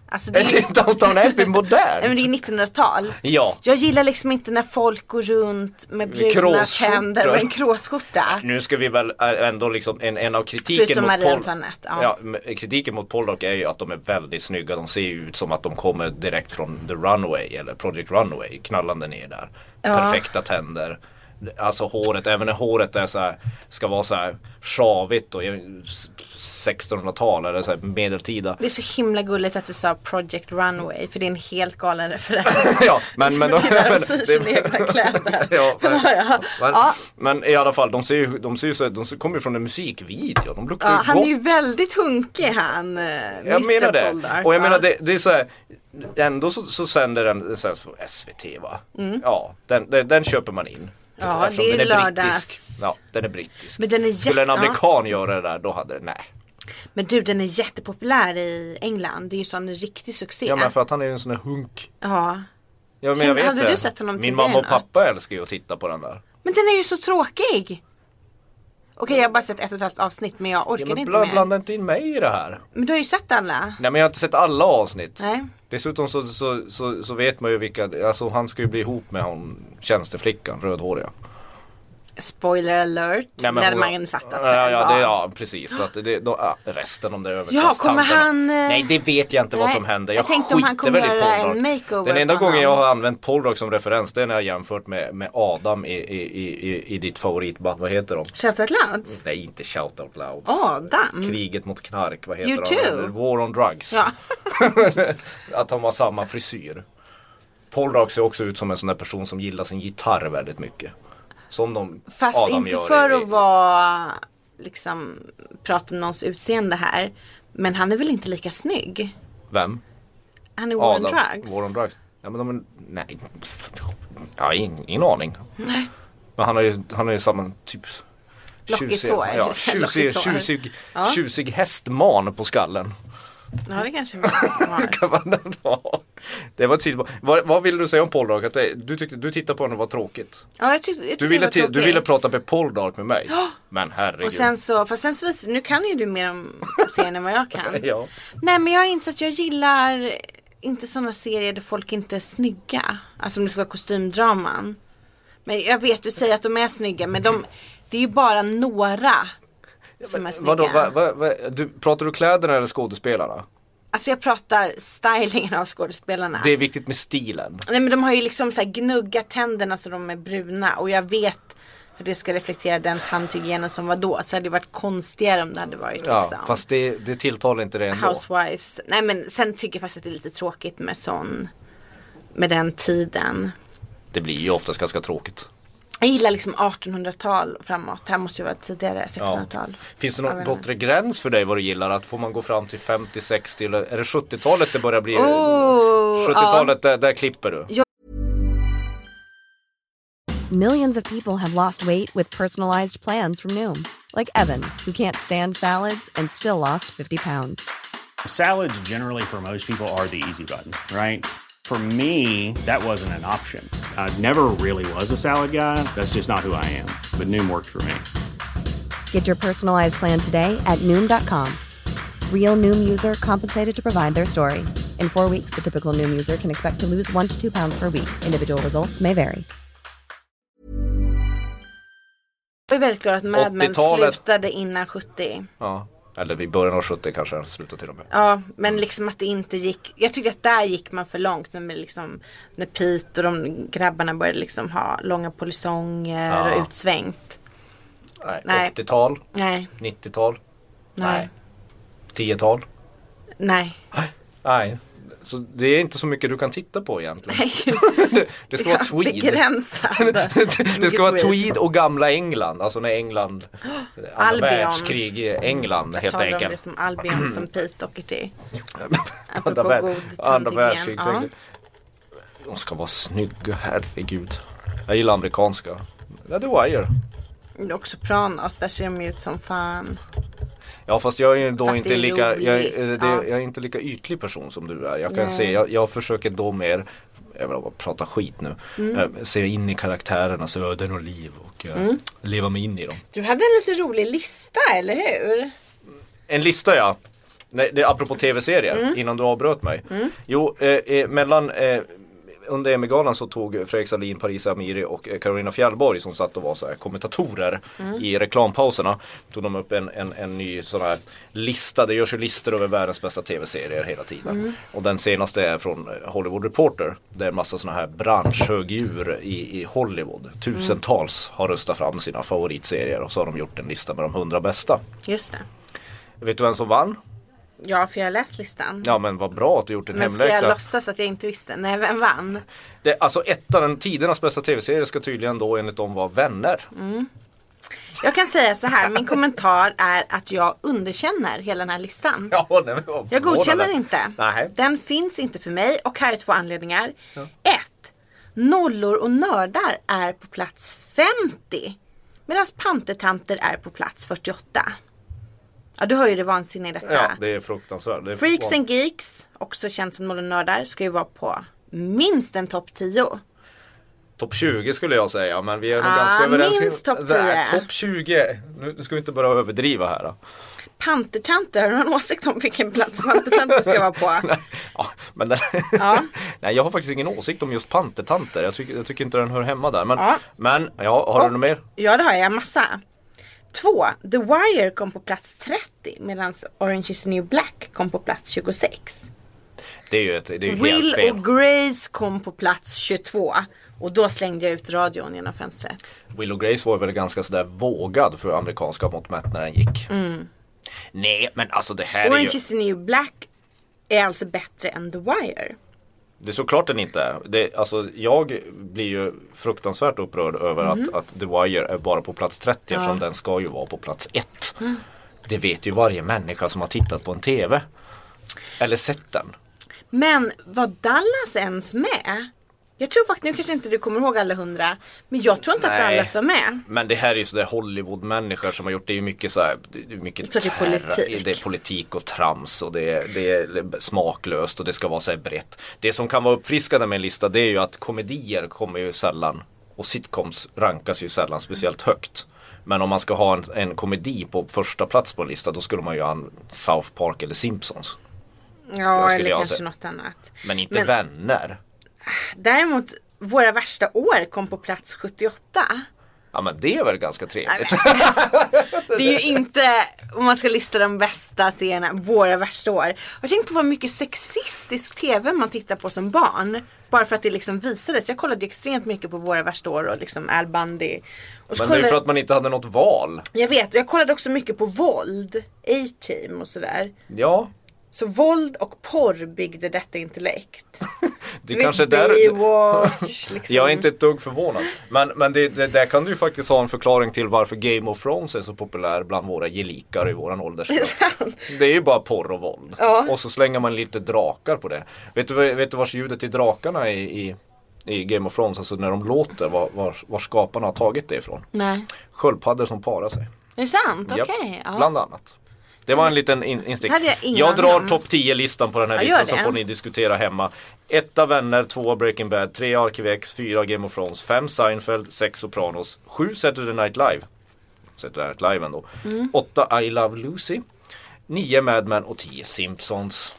[SPEAKER 2] Alltså det
[SPEAKER 3] Är
[SPEAKER 2] är,
[SPEAKER 3] det Downtown Abbey
[SPEAKER 2] nej, men
[SPEAKER 3] modern?
[SPEAKER 2] det är 1900-tal.
[SPEAKER 3] Ja.
[SPEAKER 2] Jag gillar liksom inte när folk går runt med bruna
[SPEAKER 3] kråsskjortor.
[SPEAKER 2] tänder och en kråsskjorta.
[SPEAKER 3] Nu ska vi väl ä- ändå liksom, en, en av kritiken
[SPEAKER 2] Förutom
[SPEAKER 3] mot
[SPEAKER 2] Marie
[SPEAKER 3] Paul-
[SPEAKER 2] Antoinette, ja.
[SPEAKER 3] Ja, men kritiken mot Pollock är ju att de är väldigt snygga. De ser ju ut som att de kommer direkt från The Runway eller Project Runway knallande ner där. Perfekta tänder. Alltså håret, även när håret är så här, ska vara så här sjavigt och 1600-tal eller så här medeltida.
[SPEAKER 2] Det är så himla gulligt att du sa Project Runway för det är en helt galen referens.
[SPEAKER 3] ja, men, men, de,
[SPEAKER 2] Det är
[SPEAKER 3] men
[SPEAKER 2] där de syr sina egna kläder.
[SPEAKER 3] ja, men,
[SPEAKER 2] Ja,
[SPEAKER 3] men,
[SPEAKER 2] ja.
[SPEAKER 3] men i alla fall, de ser ju, de ser ju så, här- de kommer ju från en musikvideo. De luktar
[SPEAKER 2] Ja,
[SPEAKER 3] ju
[SPEAKER 2] han är
[SPEAKER 3] gott.
[SPEAKER 2] ju väldigt hunkig han, eh, Mr
[SPEAKER 3] Jag menar det.
[SPEAKER 2] Poldark,
[SPEAKER 3] och jag
[SPEAKER 2] va?
[SPEAKER 3] menar det, det är så här, ändå så, så sänder den sänds på SVT va? Ja, den, den, den köper man in.
[SPEAKER 2] Mm. Ja,
[SPEAKER 3] Eftersom
[SPEAKER 2] det är
[SPEAKER 3] den
[SPEAKER 2] lördags.
[SPEAKER 3] brittisk. Ja, den är brittisk.
[SPEAKER 2] Men den är
[SPEAKER 3] Skulle en
[SPEAKER 2] jätte-
[SPEAKER 3] amerikan göra det där, då hade det, nej.
[SPEAKER 2] Men du den är jättepopulär i England. Det är ju sån riktig succé.
[SPEAKER 3] Ja men för att han är ju en sån där hunk.
[SPEAKER 2] Ja.
[SPEAKER 3] Ja, men
[SPEAKER 2] Känner-
[SPEAKER 3] jag vet
[SPEAKER 2] hade
[SPEAKER 3] det.
[SPEAKER 2] du sett honom
[SPEAKER 3] Min
[SPEAKER 2] tidigare
[SPEAKER 3] mamma och
[SPEAKER 2] än att-
[SPEAKER 3] pappa älskar ju att titta på den där.
[SPEAKER 2] Men den är ju så tråkig. Okej jag har bara sett ett och ett halvt avsnitt men jag
[SPEAKER 3] Ja,
[SPEAKER 2] orkade
[SPEAKER 3] men
[SPEAKER 2] inte
[SPEAKER 3] bla,
[SPEAKER 2] mer.
[SPEAKER 3] blanda inte in mig i det här.
[SPEAKER 2] Men du har ju sett alla.
[SPEAKER 3] Nej men jag har inte sett alla avsnitt.
[SPEAKER 2] Nej.
[SPEAKER 3] Dessutom så, så, så, så vet man ju vilka, alltså han ska ju bli ihop med hon tjänsteflickan, rödhåriga.
[SPEAKER 2] Spoiler alert.
[SPEAKER 3] Nej, men
[SPEAKER 2] när
[SPEAKER 3] hon-
[SPEAKER 2] man fattat vad
[SPEAKER 3] ja, ja,
[SPEAKER 2] var.
[SPEAKER 3] det, ja precis, för att det, då, ja, resten om det är
[SPEAKER 2] kommer han, eh,
[SPEAKER 3] Nej det vet jag inte vad
[SPEAKER 2] nej,
[SPEAKER 3] som händer.
[SPEAKER 2] jag
[SPEAKER 3] Jag,
[SPEAKER 2] tänkte om han
[SPEAKER 3] skiter
[SPEAKER 2] kommer
[SPEAKER 3] väl i
[SPEAKER 2] göra en
[SPEAKER 3] Poldark.
[SPEAKER 2] makeover
[SPEAKER 3] Den enda
[SPEAKER 2] på
[SPEAKER 3] gången jag
[SPEAKER 2] honom.
[SPEAKER 3] har använt Poldark som referens det är när jag jämfört med, med Adam i, i, i, i, i ditt favoritband, vad heter de?
[SPEAKER 2] Shout out loud.
[SPEAKER 3] Nej inte Shout Out Louds.
[SPEAKER 2] Adam.
[SPEAKER 3] Kriget mot knark, vad heter
[SPEAKER 2] Mm. You
[SPEAKER 3] de?
[SPEAKER 2] too.
[SPEAKER 3] War on drugs.
[SPEAKER 2] Ja.
[SPEAKER 3] att de har samma frisyr. Poldark ser också ut som en sån där person som gillar sin gitarr väldigt mycket. Som de
[SPEAKER 2] Fast
[SPEAKER 3] Adam
[SPEAKER 2] inte
[SPEAKER 3] gör i-
[SPEAKER 2] för
[SPEAKER 3] i-
[SPEAKER 2] att vara liksom prata om någons utseende här. Men han är väl inte lika snygg?
[SPEAKER 3] Vem?
[SPEAKER 2] Han är War on
[SPEAKER 3] Adam.
[SPEAKER 2] Drugs.
[SPEAKER 3] War on drugs. Ja, men de är, nej, jag har ingen, ingen aning. Men han har ju, han har ju samma typ
[SPEAKER 2] Lockigt
[SPEAKER 3] tjusiga-
[SPEAKER 2] hår.
[SPEAKER 3] ja, tjusig,
[SPEAKER 2] Lockigt hår.
[SPEAKER 3] tjusig,
[SPEAKER 2] Ja.
[SPEAKER 3] tjusig hästman på skallen.
[SPEAKER 2] Ja det kanske han har.
[SPEAKER 3] Kan man ha. det var ett sidospår. vad, vad ville du säga om Poldark? Att det, du, tyckte, du tittade på den och var tråkigt.
[SPEAKER 2] Ja, jag tyckte, jag tyckte
[SPEAKER 3] Du
[SPEAKER 2] det
[SPEAKER 3] ville,
[SPEAKER 2] var
[SPEAKER 3] till, du
[SPEAKER 2] tråkigt.
[SPEAKER 3] ville prata med Poldark med mig. Men herregud.
[SPEAKER 2] Och sen så, fast sen så visar, nu kan ju du mer om serien än vad jag kan.
[SPEAKER 3] ja.
[SPEAKER 2] Nej men jag har insett att jag gillar inte sådana serier där folk inte är snygga. Alltså om det ska vara kostymdraman. Men jag vet, du säger att de är snygga men de, det är ju bara några som är snygga.
[SPEAKER 3] Vadå, vad, vad, vad, du, pratar du kläderna eller skådespelarna?
[SPEAKER 2] Alltså jag pratar stylingen av skådespelarna.
[SPEAKER 3] Det är viktigt med stilen.
[SPEAKER 2] Nej men de har ju liksom så här gnuggat tänderna så de är bruna och jag vet för det ska reflektera den tandhygienen som var då. Så hade det varit konstigare om det hade varit
[SPEAKER 3] Ja,
[SPEAKER 2] liksom.
[SPEAKER 3] fast det, det tilltalar inte det ändå.
[SPEAKER 2] Housewives. Nej men sen tycker jag faktiskt att det är lite tråkigt med sån. Med den tiden.
[SPEAKER 3] Det blir ju oftast ganska tråkigt.
[SPEAKER 2] Jag gillar liksom 1800-tal framåt. Här måste ju vara tidigare 1600-tal.
[SPEAKER 3] Finns det
[SPEAKER 2] Jag
[SPEAKER 3] någon
[SPEAKER 2] vet inte.
[SPEAKER 3] bortre gräns för dig vad du gillar? Att får man gå fram till 50, 60 eller är det 70-talet det börjar bli?
[SPEAKER 2] Oh,
[SPEAKER 3] 70-talet, där, där klipper du.
[SPEAKER 4] Millions of people have lost weight with personalized plans from Noom, like Evan, who can't stand salads and still lost 50 pounds.
[SPEAKER 5] Salads, generally, for most people, are the easy button, right? For me, that wasn't an option. I never really was a salad guy. That's just not who I am. But Noom worked for me.
[SPEAKER 4] Get your personalized plan today at Noom.com. Real Noom user compensated to provide their story. In four weeks, the typical Noom user can expect to lose one to two pounds per week. Individual results may vary.
[SPEAKER 2] Jag är väldigt glad att Mad Men
[SPEAKER 3] 80-talet.
[SPEAKER 2] slutade innan 70.
[SPEAKER 3] Ja. Eller i början av 70 kanske han slutade till och med.
[SPEAKER 2] Ja, men liksom att det inte gick. Jag tyckte att där gick man för långt. När, man liksom, när Pete och de grabbarna började liksom ha långa polisonger
[SPEAKER 3] Ja.
[SPEAKER 2] och utsvängt.
[SPEAKER 3] Nej.
[SPEAKER 2] Nej.
[SPEAKER 3] 80-tal,
[SPEAKER 2] Nej,
[SPEAKER 3] 90-tal,
[SPEAKER 2] nej,
[SPEAKER 3] 10-tal.
[SPEAKER 2] nej.
[SPEAKER 3] Nej. Så det är inte så mycket du kan titta på egentligen. det, det ska vara tweed.
[SPEAKER 2] Begränsad.
[SPEAKER 3] Det
[SPEAKER 2] Mycket
[SPEAKER 3] ska vara tweed och gamla England, alltså när England, andra
[SPEAKER 2] Albion.
[SPEAKER 3] världskrig i England helt
[SPEAKER 2] Talar om det
[SPEAKER 3] enkelt.
[SPEAKER 2] som Albion som Pete åker till.
[SPEAKER 3] Andra,
[SPEAKER 2] Apropå
[SPEAKER 3] värld,
[SPEAKER 2] god
[SPEAKER 3] andra
[SPEAKER 2] tandhygien.
[SPEAKER 3] världskrigs
[SPEAKER 2] Ja.
[SPEAKER 3] England. De ska vara snygga, herregud. Jag gillar amerikanska. Ja, The Wire.
[SPEAKER 2] Och Sopranos, där ser de ju ut som fan.
[SPEAKER 3] Ja fast jag är ju då
[SPEAKER 2] Fast
[SPEAKER 3] inte
[SPEAKER 2] det är
[SPEAKER 3] lika, jag, är-
[SPEAKER 2] roligt,
[SPEAKER 3] eh, det,
[SPEAKER 2] ja.
[SPEAKER 3] jag är inte lika ytlig person som du är. Jag kan
[SPEAKER 2] Nej.
[SPEAKER 3] se, jag, jag försöker då mer, jag vill bara prata skit nu,
[SPEAKER 2] Mm.
[SPEAKER 3] eh, se in i karaktärernas öden och liv och eh,
[SPEAKER 2] Mm.
[SPEAKER 3] leva mig in i dem.
[SPEAKER 2] Du hade en lite rolig lista, eller hur?
[SPEAKER 3] En lista ja. Nej, det är apropå tv-serier, innan du avbröt mig. Jo, eh, eh, mellan eh, under Emmy-galan så tog Fredrik Sahlin, Parisa Amiri och eh, Carolina Fjällborg som satt och var så här kommentatorer i reklampauserna. Tog de upp en, en, en ny sån här lista, det görs ju listor över världens bästa tv-serier hela tiden. Och den senaste är från eh, Hollywood Reporter. Det är en massa såna här branschhögdjur i, i Hollywood. Tusentals har röstat fram sina favoritserier och så har de gjort en lista med de hundra bästa.
[SPEAKER 2] Just det.
[SPEAKER 3] Vet du vem som vann?
[SPEAKER 2] Ja, för jag har läst listan.
[SPEAKER 3] Ja men vad bra att du gjort din
[SPEAKER 2] Men ska jag
[SPEAKER 3] hemläxa.
[SPEAKER 2] låtsas att jag inte visste? Nej, vem vann?
[SPEAKER 3] Det, alltså ettan, den tidernas bästa tv-serie ska tydligen då enligt dem vara vänner.
[SPEAKER 2] Mm. Jag kan säga så här, min kommentar är att jag underkänner hela den här listan.
[SPEAKER 3] Ja, nej, men vad
[SPEAKER 2] Jag godkänner
[SPEAKER 3] förvånande.
[SPEAKER 2] inte.
[SPEAKER 3] Nej.
[SPEAKER 2] Den finns inte för mig och här är två anledningar. Ett, nollor och nördar är på plats 50. Medan pantertanter är på plats 48. Ja, du hör ju det vansinniga i detta.
[SPEAKER 3] Ja det är fruktansvärt. Det är
[SPEAKER 2] Freaks
[SPEAKER 3] förvånande.
[SPEAKER 2] and Geeks, också känt som nollor och nördar, ska ju vara på minst en topp 10.
[SPEAKER 3] Topp 20 skulle jag säga men vi är nog
[SPEAKER 2] Ah,
[SPEAKER 3] ganska överens.
[SPEAKER 2] minst topp
[SPEAKER 3] Nej,
[SPEAKER 2] 10.
[SPEAKER 3] Topp 20, nu nu ska vi inte börja överdriva här. Då.
[SPEAKER 2] Pantertanter, har du någon åsikt om vilken plats pantertanter ska vara på?
[SPEAKER 3] Ja, men den, nej jag har faktiskt ingen åsikt om just pantertanter. Jag tycker, jag tycker inte den hör hemma där. Men,
[SPEAKER 2] Ja.
[SPEAKER 3] men ja, har du något mer?
[SPEAKER 2] Ja det har jag, massa. Två, The Wire kom på plats 30 medan Orange is the new black kom på plats 26.
[SPEAKER 3] Det är ju, ett, det är ju helt
[SPEAKER 2] Will
[SPEAKER 3] fel.
[SPEAKER 2] och Grace kom på plats 22. Och då slängde jag ut radion genom fönstret.
[SPEAKER 3] Will och Grace var väl ganska sådär vågad för amerikanska mått mätt när den gick. Nej men alltså det här är ju,
[SPEAKER 2] Orange is the new black är alltså bättre än The Wire.
[SPEAKER 3] det är såklart den inte är. Det, alltså jag blir ju fruktansvärt upprörd över att, att The Wire är bara på plats 30 eftersom den ska ju vara på plats 1. Det vet ju varje människa som har tittat på en TV. Eller sett den.
[SPEAKER 2] Men var Dallas ens med? Jag tror faktiskt, nu kanske inte du kommer ihåg alla hundra. Men jag tror inte att
[SPEAKER 3] Nej.
[SPEAKER 2] Dallas var med.
[SPEAKER 3] Men det här är ju sådär Hollywood-människor som har gjort det är ju mycket så här, det är mycket
[SPEAKER 2] Det är klart det är
[SPEAKER 3] terra-
[SPEAKER 2] politik.
[SPEAKER 3] det är politik och trams och det är, det är smaklöst och det ska vara så här brett. Det som kan vara uppfriskande med en lista det är ju att komedier kommer ju sällan och sitcoms rankas ju sällan speciellt högt. Men om man ska ha en, en komedi på första plats på en lista då skulle man ju ha en South Park eller Simpsons.
[SPEAKER 2] Ja,
[SPEAKER 3] skulle
[SPEAKER 2] eller
[SPEAKER 3] jag
[SPEAKER 2] kanske
[SPEAKER 3] säga.
[SPEAKER 2] något annat.
[SPEAKER 3] Men inte vänner.
[SPEAKER 2] Däremot, Våra värsta år kom på plats 78.
[SPEAKER 3] Ja men det är väl ganska trevligt.
[SPEAKER 2] Det är ju inte, om man ska lista de bästa serierna, våra värsta år. Jag tänkt på vad mycket sexistisk TV man tittar på som barn. Bara för att det liksom visades. Jag kollade ju extremt mycket på våra värsta år och liksom Al Bundy. Och så
[SPEAKER 3] Men det är ju
[SPEAKER 2] kollade,
[SPEAKER 3] för att man inte hade något val.
[SPEAKER 2] Jag vet, och jag kollade också mycket på våld. A-team och sådär.
[SPEAKER 3] Ja,
[SPEAKER 2] Så våld och porr byggde detta intellekt. Du
[SPEAKER 3] det
[SPEAKER 2] vet,
[SPEAKER 3] kanske är där,
[SPEAKER 2] Baywatch, liksom.
[SPEAKER 3] Jag är inte ett dugg förvånad. Men, men det, det, där kan du ju faktiskt ha en förklaring till varför Game of Thrones är så populär bland våra gelikar i våran åldersgrupp. det är ju bara porr och våld. Och så slänger man lite drakar på det. Vet du, vad- vet du vars ljudet till drakarna i, i, i Game of Thrones, alltså när de låter, var, var, var skaparna har tagit det ifrån?
[SPEAKER 2] Nej.
[SPEAKER 3] Sköldpaddor som parar sig.
[SPEAKER 2] Är det sant? Okej.
[SPEAKER 3] Japp,
[SPEAKER 2] ja.
[SPEAKER 3] Bland annat. Det var en liten in- instick.
[SPEAKER 2] hade jag ingen aning
[SPEAKER 3] drar
[SPEAKER 2] om.
[SPEAKER 3] topp 10-listan på den här
[SPEAKER 2] Ja,
[SPEAKER 3] listan
[SPEAKER 2] gör
[SPEAKER 3] så
[SPEAKER 2] det.
[SPEAKER 3] får ni diskutera hemma. Etta Vänner, tvåa Breaking Bad, trea Arkivex, fyra Game of Thrones, fem Seinfeld, sex Sopranos, sju Saturday Night Live. Saturday Night Live ändå.
[SPEAKER 2] Mm.
[SPEAKER 3] Åtta I Love Lucy, nio Mad Men och tio Simpsons.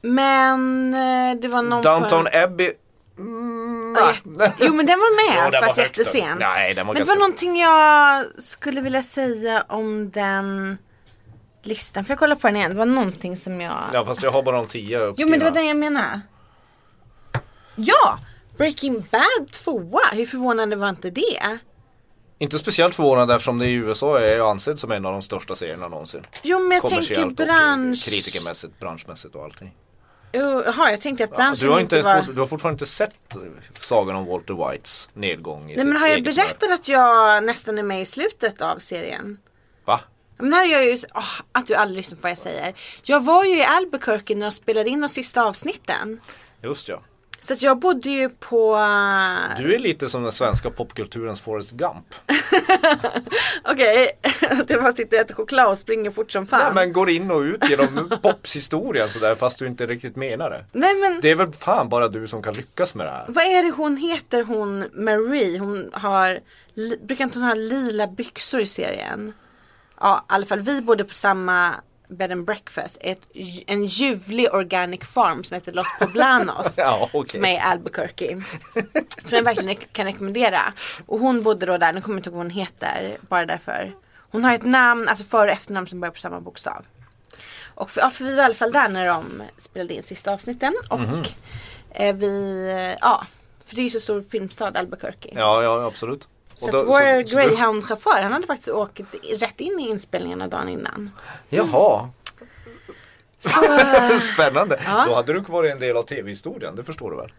[SPEAKER 2] Men eh, det var någon på-
[SPEAKER 3] Downton Abbey. Mm, nej.
[SPEAKER 2] Jo men den var
[SPEAKER 3] Ja,
[SPEAKER 2] med
[SPEAKER 3] den var
[SPEAKER 2] fast
[SPEAKER 3] högt upp.
[SPEAKER 2] jättesent.
[SPEAKER 3] Nej, den var
[SPEAKER 2] men det
[SPEAKER 3] ganska
[SPEAKER 2] var
[SPEAKER 3] högt.
[SPEAKER 2] någonting jag skulle vilja säga om den listan. Får jag kolla på den igen? Det var någonting som jag...
[SPEAKER 3] Ja fast jag har bara de tio uppskrivna.
[SPEAKER 2] Jo men det var den jag menade. Ja! Breaking Bad tvåa. Hur förvånande var inte det?
[SPEAKER 3] Inte speciellt förvånande eftersom det i USA är ju ansedd som en av de största serierna någonsin.
[SPEAKER 2] Jo men jag tänker
[SPEAKER 3] Kommersiellt
[SPEAKER 2] bransch...
[SPEAKER 3] och kritikermässigt, branschmässigt och allting.
[SPEAKER 2] Jo, Jaha, jag tänkte att
[SPEAKER 3] Ja,
[SPEAKER 2] branschen
[SPEAKER 3] du, har
[SPEAKER 2] inte,
[SPEAKER 3] inte ens,
[SPEAKER 2] var...
[SPEAKER 3] fått- du har fortfarande inte sett eh, sagan om Walter Whites nedgång i
[SPEAKER 2] Nej
[SPEAKER 3] sitt
[SPEAKER 2] men har jag
[SPEAKER 3] eget
[SPEAKER 2] berättat
[SPEAKER 3] värld?
[SPEAKER 2] att jag nästan är med i slutet av serien?
[SPEAKER 3] Va?
[SPEAKER 2] Men det här gör jag ju åh, att du aldrig lyssnar på vad jag säger. Jag var ju i Albuquerque när jag spelade in de sista avsnitten.
[SPEAKER 3] Just ja.
[SPEAKER 2] Så att jag bodde ju på... eh,
[SPEAKER 3] Du är lite som den svenska popkulturens Forrest Gump.
[SPEAKER 2] Okej, det var sitter och äter choklad och springer fort som fan.
[SPEAKER 3] Nej, men går in och ut genom popshistorien sådär fast du inte riktigt menar det.
[SPEAKER 2] Nej, men-
[SPEAKER 3] Det är väl fan bara du som kan lyckas med det här.
[SPEAKER 2] Vad är det hon heter hon Marie? Hon har, li- brukar inte hon ha lila byxor i serien? Ja, i alla fall vi bodde på samma bed and breakfast. Ett, ju- en ljuvlig organic farm som heter Los Poblanos.
[SPEAKER 3] Ja, okej.
[SPEAKER 2] Som är i Albuquerque. Som jag verkligen rek- kan rekommendera. Och hon bodde då där, nu kommer jag inte ihåg vad hon heter. Bara därför. Hon har ett namn, alltså för och efternamn som börjar på samma bokstav. Och för, ja, för vi var i alla fall där när de spelade in sista avsnitten. Och
[SPEAKER 3] Mhm.
[SPEAKER 2] eh, vi, ja. För det är ju så stor filmstad Albuquerque.
[SPEAKER 3] Ja, ja absolut.
[SPEAKER 2] Så
[SPEAKER 3] Och då-
[SPEAKER 2] att vår
[SPEAKER 3] så- så du-
[SPEAKER 2] greyhound-chaufför han hade faktiskt åkt rätt in i inspelningarna dagen innan.
[SPEAKER 3] Jaha,
[SPEAKER 2] Så,
[SPEAKER 3] spännande. Då hade du varit en del av tv-historien, det förstår du väl?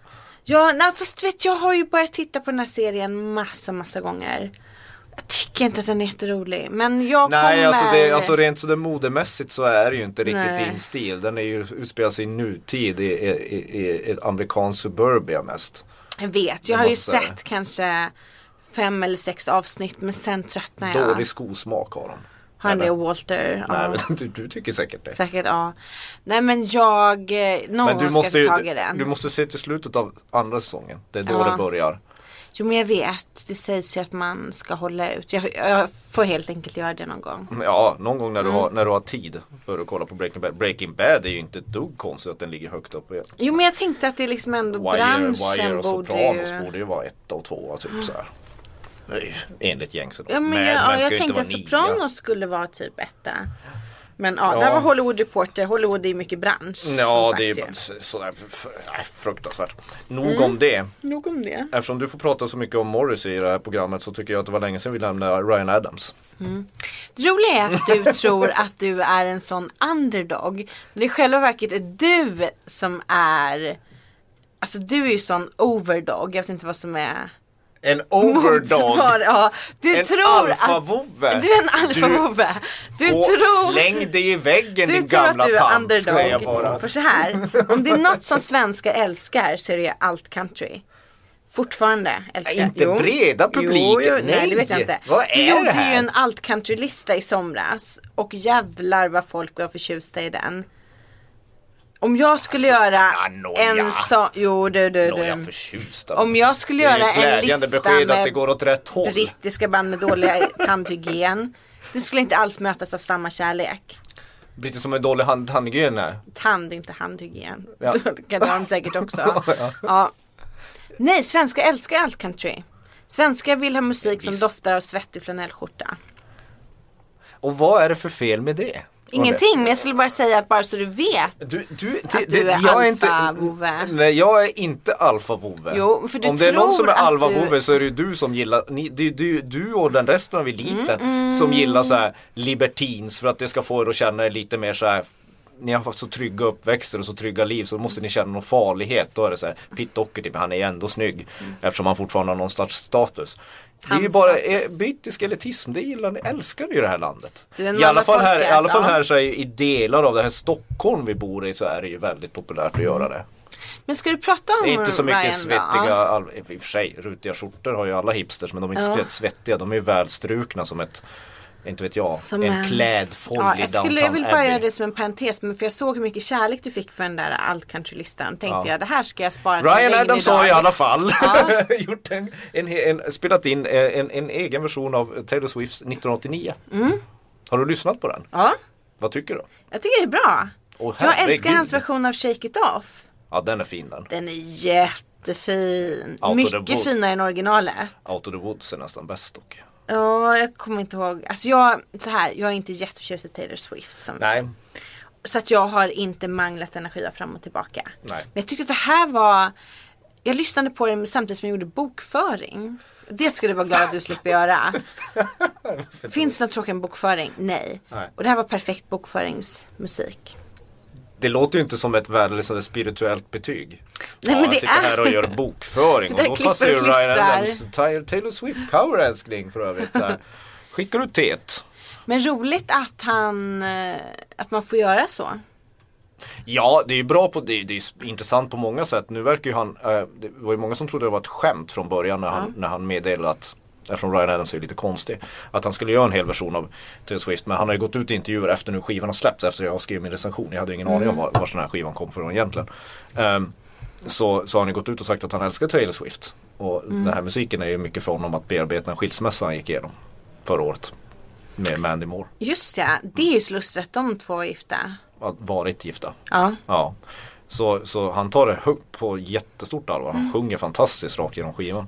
[SPEAKER 2] ja, nej, fast du vet jag har ju börjat titta på den här serien massa, massa gånger. Jag tycker inte att den är jätterolig. Men jag
[SPEAKER 3] Nej,
[SPEAKER 2] kommer.
[SPEAKER 3] alltså, det, alltså rent sådär modemässigt så är det ju inte riktigt
[SPEAKER 2] Nej.
[SPEAKER 3] din stil. Den är ju, utspelar sig i nutid i, i, i, i ett amerikanskt suburbia mest.
[SPEAKER 2] Jag vet, jag har ju
[SPEAKER 3] måste jag säga.
[SPEAKER 2] sett kanske fem eller sex avsnitt men sen tröttnar jag.
[SPEAKER 3] Dålig skosmak har de.
[SPEAKER 2] Har han
[SPEAKER 3] Eller?
[SPEAKER 2] det och Walter? ja.
[SPEAKER 3] Nej, men du, du tycker säkert det.
[SPEAKER 2] Säkert ja. Nej men jag, eh, någon
[SPEAKER 3] Men du
[SPEAKER 2] gång ska
[SPEAKER 3] måste,
[SPEAKER 2] jag
[SPEAKER 3] ju,
[SPEAKER 2] ta tag i den.
[SPEAKER 3] du måste se till slutet av andra säsongen. Det är då
[SPEAKER 2] Ja.
[SPEAKER 3] det börjar.
[SPEAKER 2] Jo men jag vet, det sägs ju att man ska hålla ut. Jag, jag får helt enkelt göra det någon gång.
[SPEAKER 3] Ja, någon gång när du,
[SPEAKER 2] Mm.
[SPEAKER 3] har, när du har tid bör du kolla på Breaking Bad. Breaking Bad är ju inte ett dugg konstigt att den ligger högt upp. Wire,
[SPEAKER 2] Jo men jag tänkte att det är liksom ändå branschen
[SPEAKER 3] Wire och
[SPEAKER 2] borde
[SPEAKER 3] Sopranos
[SPEAKER 2] ju. Mm.
[SPEAKER 3] borde ju vara ett och tvåa typ så här. Nej, Enligt gängse då.
[SPEAKER 2] Ja men
[SPEAKER 3] Mad
[SPEAKER 2] jag,
[SPEAKER 3] Men
[SPEAKER 2] ja,
[SPEAKER 3] ska ju
[SPEAKER 2] jag
[SPEAKER 3] inte
[SPEAKER 2] tänkte
[SPEAKER 3] vara
[SPEAKER 2] att
[SPEAKER 3] nia.
[SPEAKER 2] Sopranos skulle vara typ etta. Men ja, det
[SPEAKER 3] Ja.
[SPEAKER 2] här var Hollywood Reporter. Hollywood är ju mycket bransch.
[SPEAKER 3] Ja,
[SPEAKER 2] som
[SPEAKER 3] det är
[SPEAKER 2] sagt Mm.
[SPEAKER 3] ju så- sådär f- nej, fruktansvärt. Nog om det.
[SPEAKER 2] ju. Nog om det.
[SPEAKER 3] Eftersom du får prata så mycket om Morris i det här programmet så tycker jag att det var länge sedan vi lämnade Ryan Adams.
[SPEAKER 2] Det roliga är att du tror att du är en sån underdog. Men i själva verket är du som är Alltså du är ju sån overdog. Jag vet inte vad som är
[SPEAKER 3] En overdog!
[SPEAKER 2] motsvar- Ja, du
[SPEAKER 3] En
[SPEAKER 2] tror
[SPEAKER 3] alfavovve.
[SPEAKER 2] att Du är en alfavovve. Du,
[SPEAKER 3] Och
[SPEAKER 2] tror
[SPEAKER 3] släng dig i väggen
[SPEAKER 2] du
[SPEAKER 3] din
[SPEAKER 2] tror
[SPEAKER 3] gamla
[SPEAKER 2] att du är
[SPEAKER 3] tant ska jag
[SPEAKER 2] underdog.
[SPEAKER 3] bara.
[SPEAKER 2] För så här, om det är något som svenskar älskar så är det ju alt country. Fortfarande älskar
[SPEAKER 3] Inte breda publiken,
[SPEAKER 2] Jo, jo, nej,
[SPEAKER 3] nej.
[SPEAKER 2] det vet jag inte.
[SPEAKER 3] Vad är
[SPEAKER 2] du gjorde
[SPEAKER 3] det här?
[SPEAKER 2] ju en alt country-lista i somras och jävlar vad folk var förtjusta i den. Om jag skulle göra
[SPEAKER 3] ja, nåja.
[SPEAKER 2] en sån, jo du du
[SPEAKER 3] Nåja
[SPEAKER 2] du.
[SPEAKER 3] förtjust av
[SPEAKER 2] Om jag skulle göra
[SPEAKER 3] Det är ju
[SPEAKER 2] en
[SPEAKER 3] ett glädjande
[SPEAKER 2] lista
[SPEAKER 3] besked att det
[SPEAKER 2] med
[SPEAKER 3] går åt rätt håll.
[SPEAKER 2] brittiska band med dålig tandhygien. Det skulle inte alls mötas av samma kärlek.
[SPEAKER 3] Britter som en dålig hand, handgren nej.
[SPEAKER 2] tand, inte handhygien.
[SPEAKER 3] Ja.
[SPEAKER 2] Det kan de säkert också. ja. Nej, svenskar älskar allt country. Svenskar vill ha musik som
[SPEAKER 3] Visst.
[SPEAKER 2] doftar av svettig flanellskjorta.
[SPEAKER 3] Och vad är det för fel med det?
[SPEAKER 2] Ingenting, men jag skulle bara säga att bara så du vet.
[SPEAKER 3] Du, du, det,
[SPEAKER 2] Att
[SPEAKER 3] det,
[SPEAKER 2] du är
[SPEAKER 3] jag är inte,
[SPEAKER 2] alfavove.
[SPEAKER 3] Nej jag är inte alfavove.
[SPEAKER 2] Jo, för du
[SPEAKER 3] Om det är någon
[SPEAKER 2] tror
[SPEAKER 3] som är
[SPEAKER 2] att
[SPEAKER 3] alfavove
[SPEAKER 2] du-
[SPEAKER 3] så är det ju du som gillar, ni, det är ju du, du och den resten av eliten
[SPEAKER 2] Mm,
[SPEAKER 3] som gillar så här libertins för att det ska få er att känna er lite mer så här ni har haft så trygga uppväxter och så trygga liv så måste ni känna någon farlighet. Då är det så här, Pitt Doherty, men han är ju ändå snygg eftersom han fortfarande har någon slags status. Det är ju
[SPEAKER 2] Hans
[SPEAKER 3] bara
[SPEAKER 2] Mm. status.
[SPEAKER 3] eh, brittisk elitism, det gillar ni, älskar ni ju det här landet.
[SPEAKER 2] Du är en
[SPEAKER 3] I alla fall här, i
[SPEAKER 2] mannafolket,
[SPEAKER 3] alla fall
[SPEAKER 2] ja.
[SPEAKER 3] här så är, ju i delar av det här Stockholm vi bor i så är det ju väldigt populärt att göra det.
[SPEAKER 2] Men ska du prata om
[SPEAKER 3] Det är inte så mycket
[SPEAKER 2] Ryan Då?
[SPEAKER 3] svettiga,
[SPEAKER 2] Ja.
[SPEAKER 3] all, i och för sig rutiga skjortor har ju alla hipsters men de är inte
[SPEAKER 2] Ja.
[SPEAKER 3] speciellt svettiga, de är ju välstrukna som ett, inte vet jag,
[SPEAKER 2] Som
[SPEAKER 3] en
[SPEAKER 2] en-
[SPEAKER 3] klädfold
[SPEAKER 2] Ja,
[SPEAKER 3] i
[SPEAKER 2] jag,
[SPEAKER 3] downtown
[SPEAKER 2] skulle, jag vill bara göra
[SPEAKER 3] Abbey.
[SPEAKER 2] det som en parentes, men för jag såg hur mycket kärlek du fick för den där alt country-listan. Tänkte jag, det här ska jag spara till
[SPEAKER 3] Ryan
[SPEAKER 2] en
[SPEAKER 3] Adams
[SPEAKER 2] regnig
[SPEAKER 3] har i
[SPEAKER 2] dag.
[SPEAKER 3] alla fall gjort en, en, en, spelat in eh, en, en egen version av Taylor Swifts 1989.
[SPEAKER 2] Mm.
[SPEAKER 3] Har du lyssnat på den?
[SPEAKER 2] Ja,
[SPEAKER 3] Vad tycker du?
[SPEAKER 2] jag tycker det är bra.
[SPEAKER 3] Åh,
[SPEAKER 2] jag älskar
[SPEAKER 3] herregud.
[SPEAKER 2] hans version av Shake It Off.
[SPEAKER 3] Ja den är fin den.
[SPEAKER 2] Den är jättefin.
[SPEAKER 3] Out of the
[SPEAKER 2] Mycket
[SPEAKER 3] box.
[SPEAKER 2] finare än originalet.
[SPEAKER 3] Out of the Woods är nästan bäst dock.
[SPEAKER 2] Ja, jag kommer inte ihåg. Alltså jag, så här, jag är inte jätteförtjust i Taylor Swift. Som,
[SPEAKER 3] Nej.
[SPEAKER 2] så att jag har inte manglat energi av fram och tillbaka.
[SPEAKER 3] Nej.
[SPEAKER 2] Men jag tyckte att det här var, jag lyssnade på det samtidigt som jag gjorde bokföring. Det skulle du vara glad att du slipper göra. Finns det något tråkigare än bokföring? Nej.
[SPEAKER 3] Nej.
[SPEAKER 2] Och det här var perfekt bokföringsmusik.
[SPEAKER 3] Det låter ju inte som ett värdelöst eller spirituellt betyg.
[SPEAKER 2] Nej,
[SPEAKER 3] ja,
[SPEAKER 2] men
[SPEAKER 3] jag
[SPEAKER 2] det
[SPEAKER 3] sitter
[SPEAKER 2] är-
[SPEAKER 3] här och gör bokföring.
[SPEAKER 2] Sitter och
[SPEAKER 3] och då
[SPEAKER 2] klipper
[SPEAKER 3] passar ju
[SPEAKER 2] och
[SPEAKER 3] Ryan
[SPEAKER 2] klistrar.
[SPEAKER 3] Adams Tyler- Taylor Swift cover älskling för övrigt. Här. Skickar du E teet?
[SPEAKER 2] Men roligt att han, eh, att man får göra så.
[SPEAKER 3] Ja, det är ju bra på, det, är- det är s- intressant på många sätt. Nu verkar ju han, eh, det var ju många som trodde det var ett skämt från början när han, när han meddelade att Eftersom Ryan Adams är lite konstig. Att han skulle göra en hel version av Taylor Swift. Men han har ju gått ut i intervjuer efter nu skivan har släppts. Efter jag skrev min recension. Jag hade ju ingen aning om var, var den här skivan kom från egentligen. Ehm, så, så har han ju gått ut och sagt att han älskar Taylor Swift. Och den här musiken är ju mycket från honom att bearbeta en skilsmässa han gick igenom. Förra året. Med Mandy Moore.
[SPEAKER 2] Just ja, det är ju så lustigt att de två är gifta.
[SPEAKER 3] Att varit gifta.
[SPEAKER 2] Ja.
[SPEAKER 3] Ja. Så, så han tar det högt på jättestort allvar. Han sjunger fantastiskt rakt genom skivan.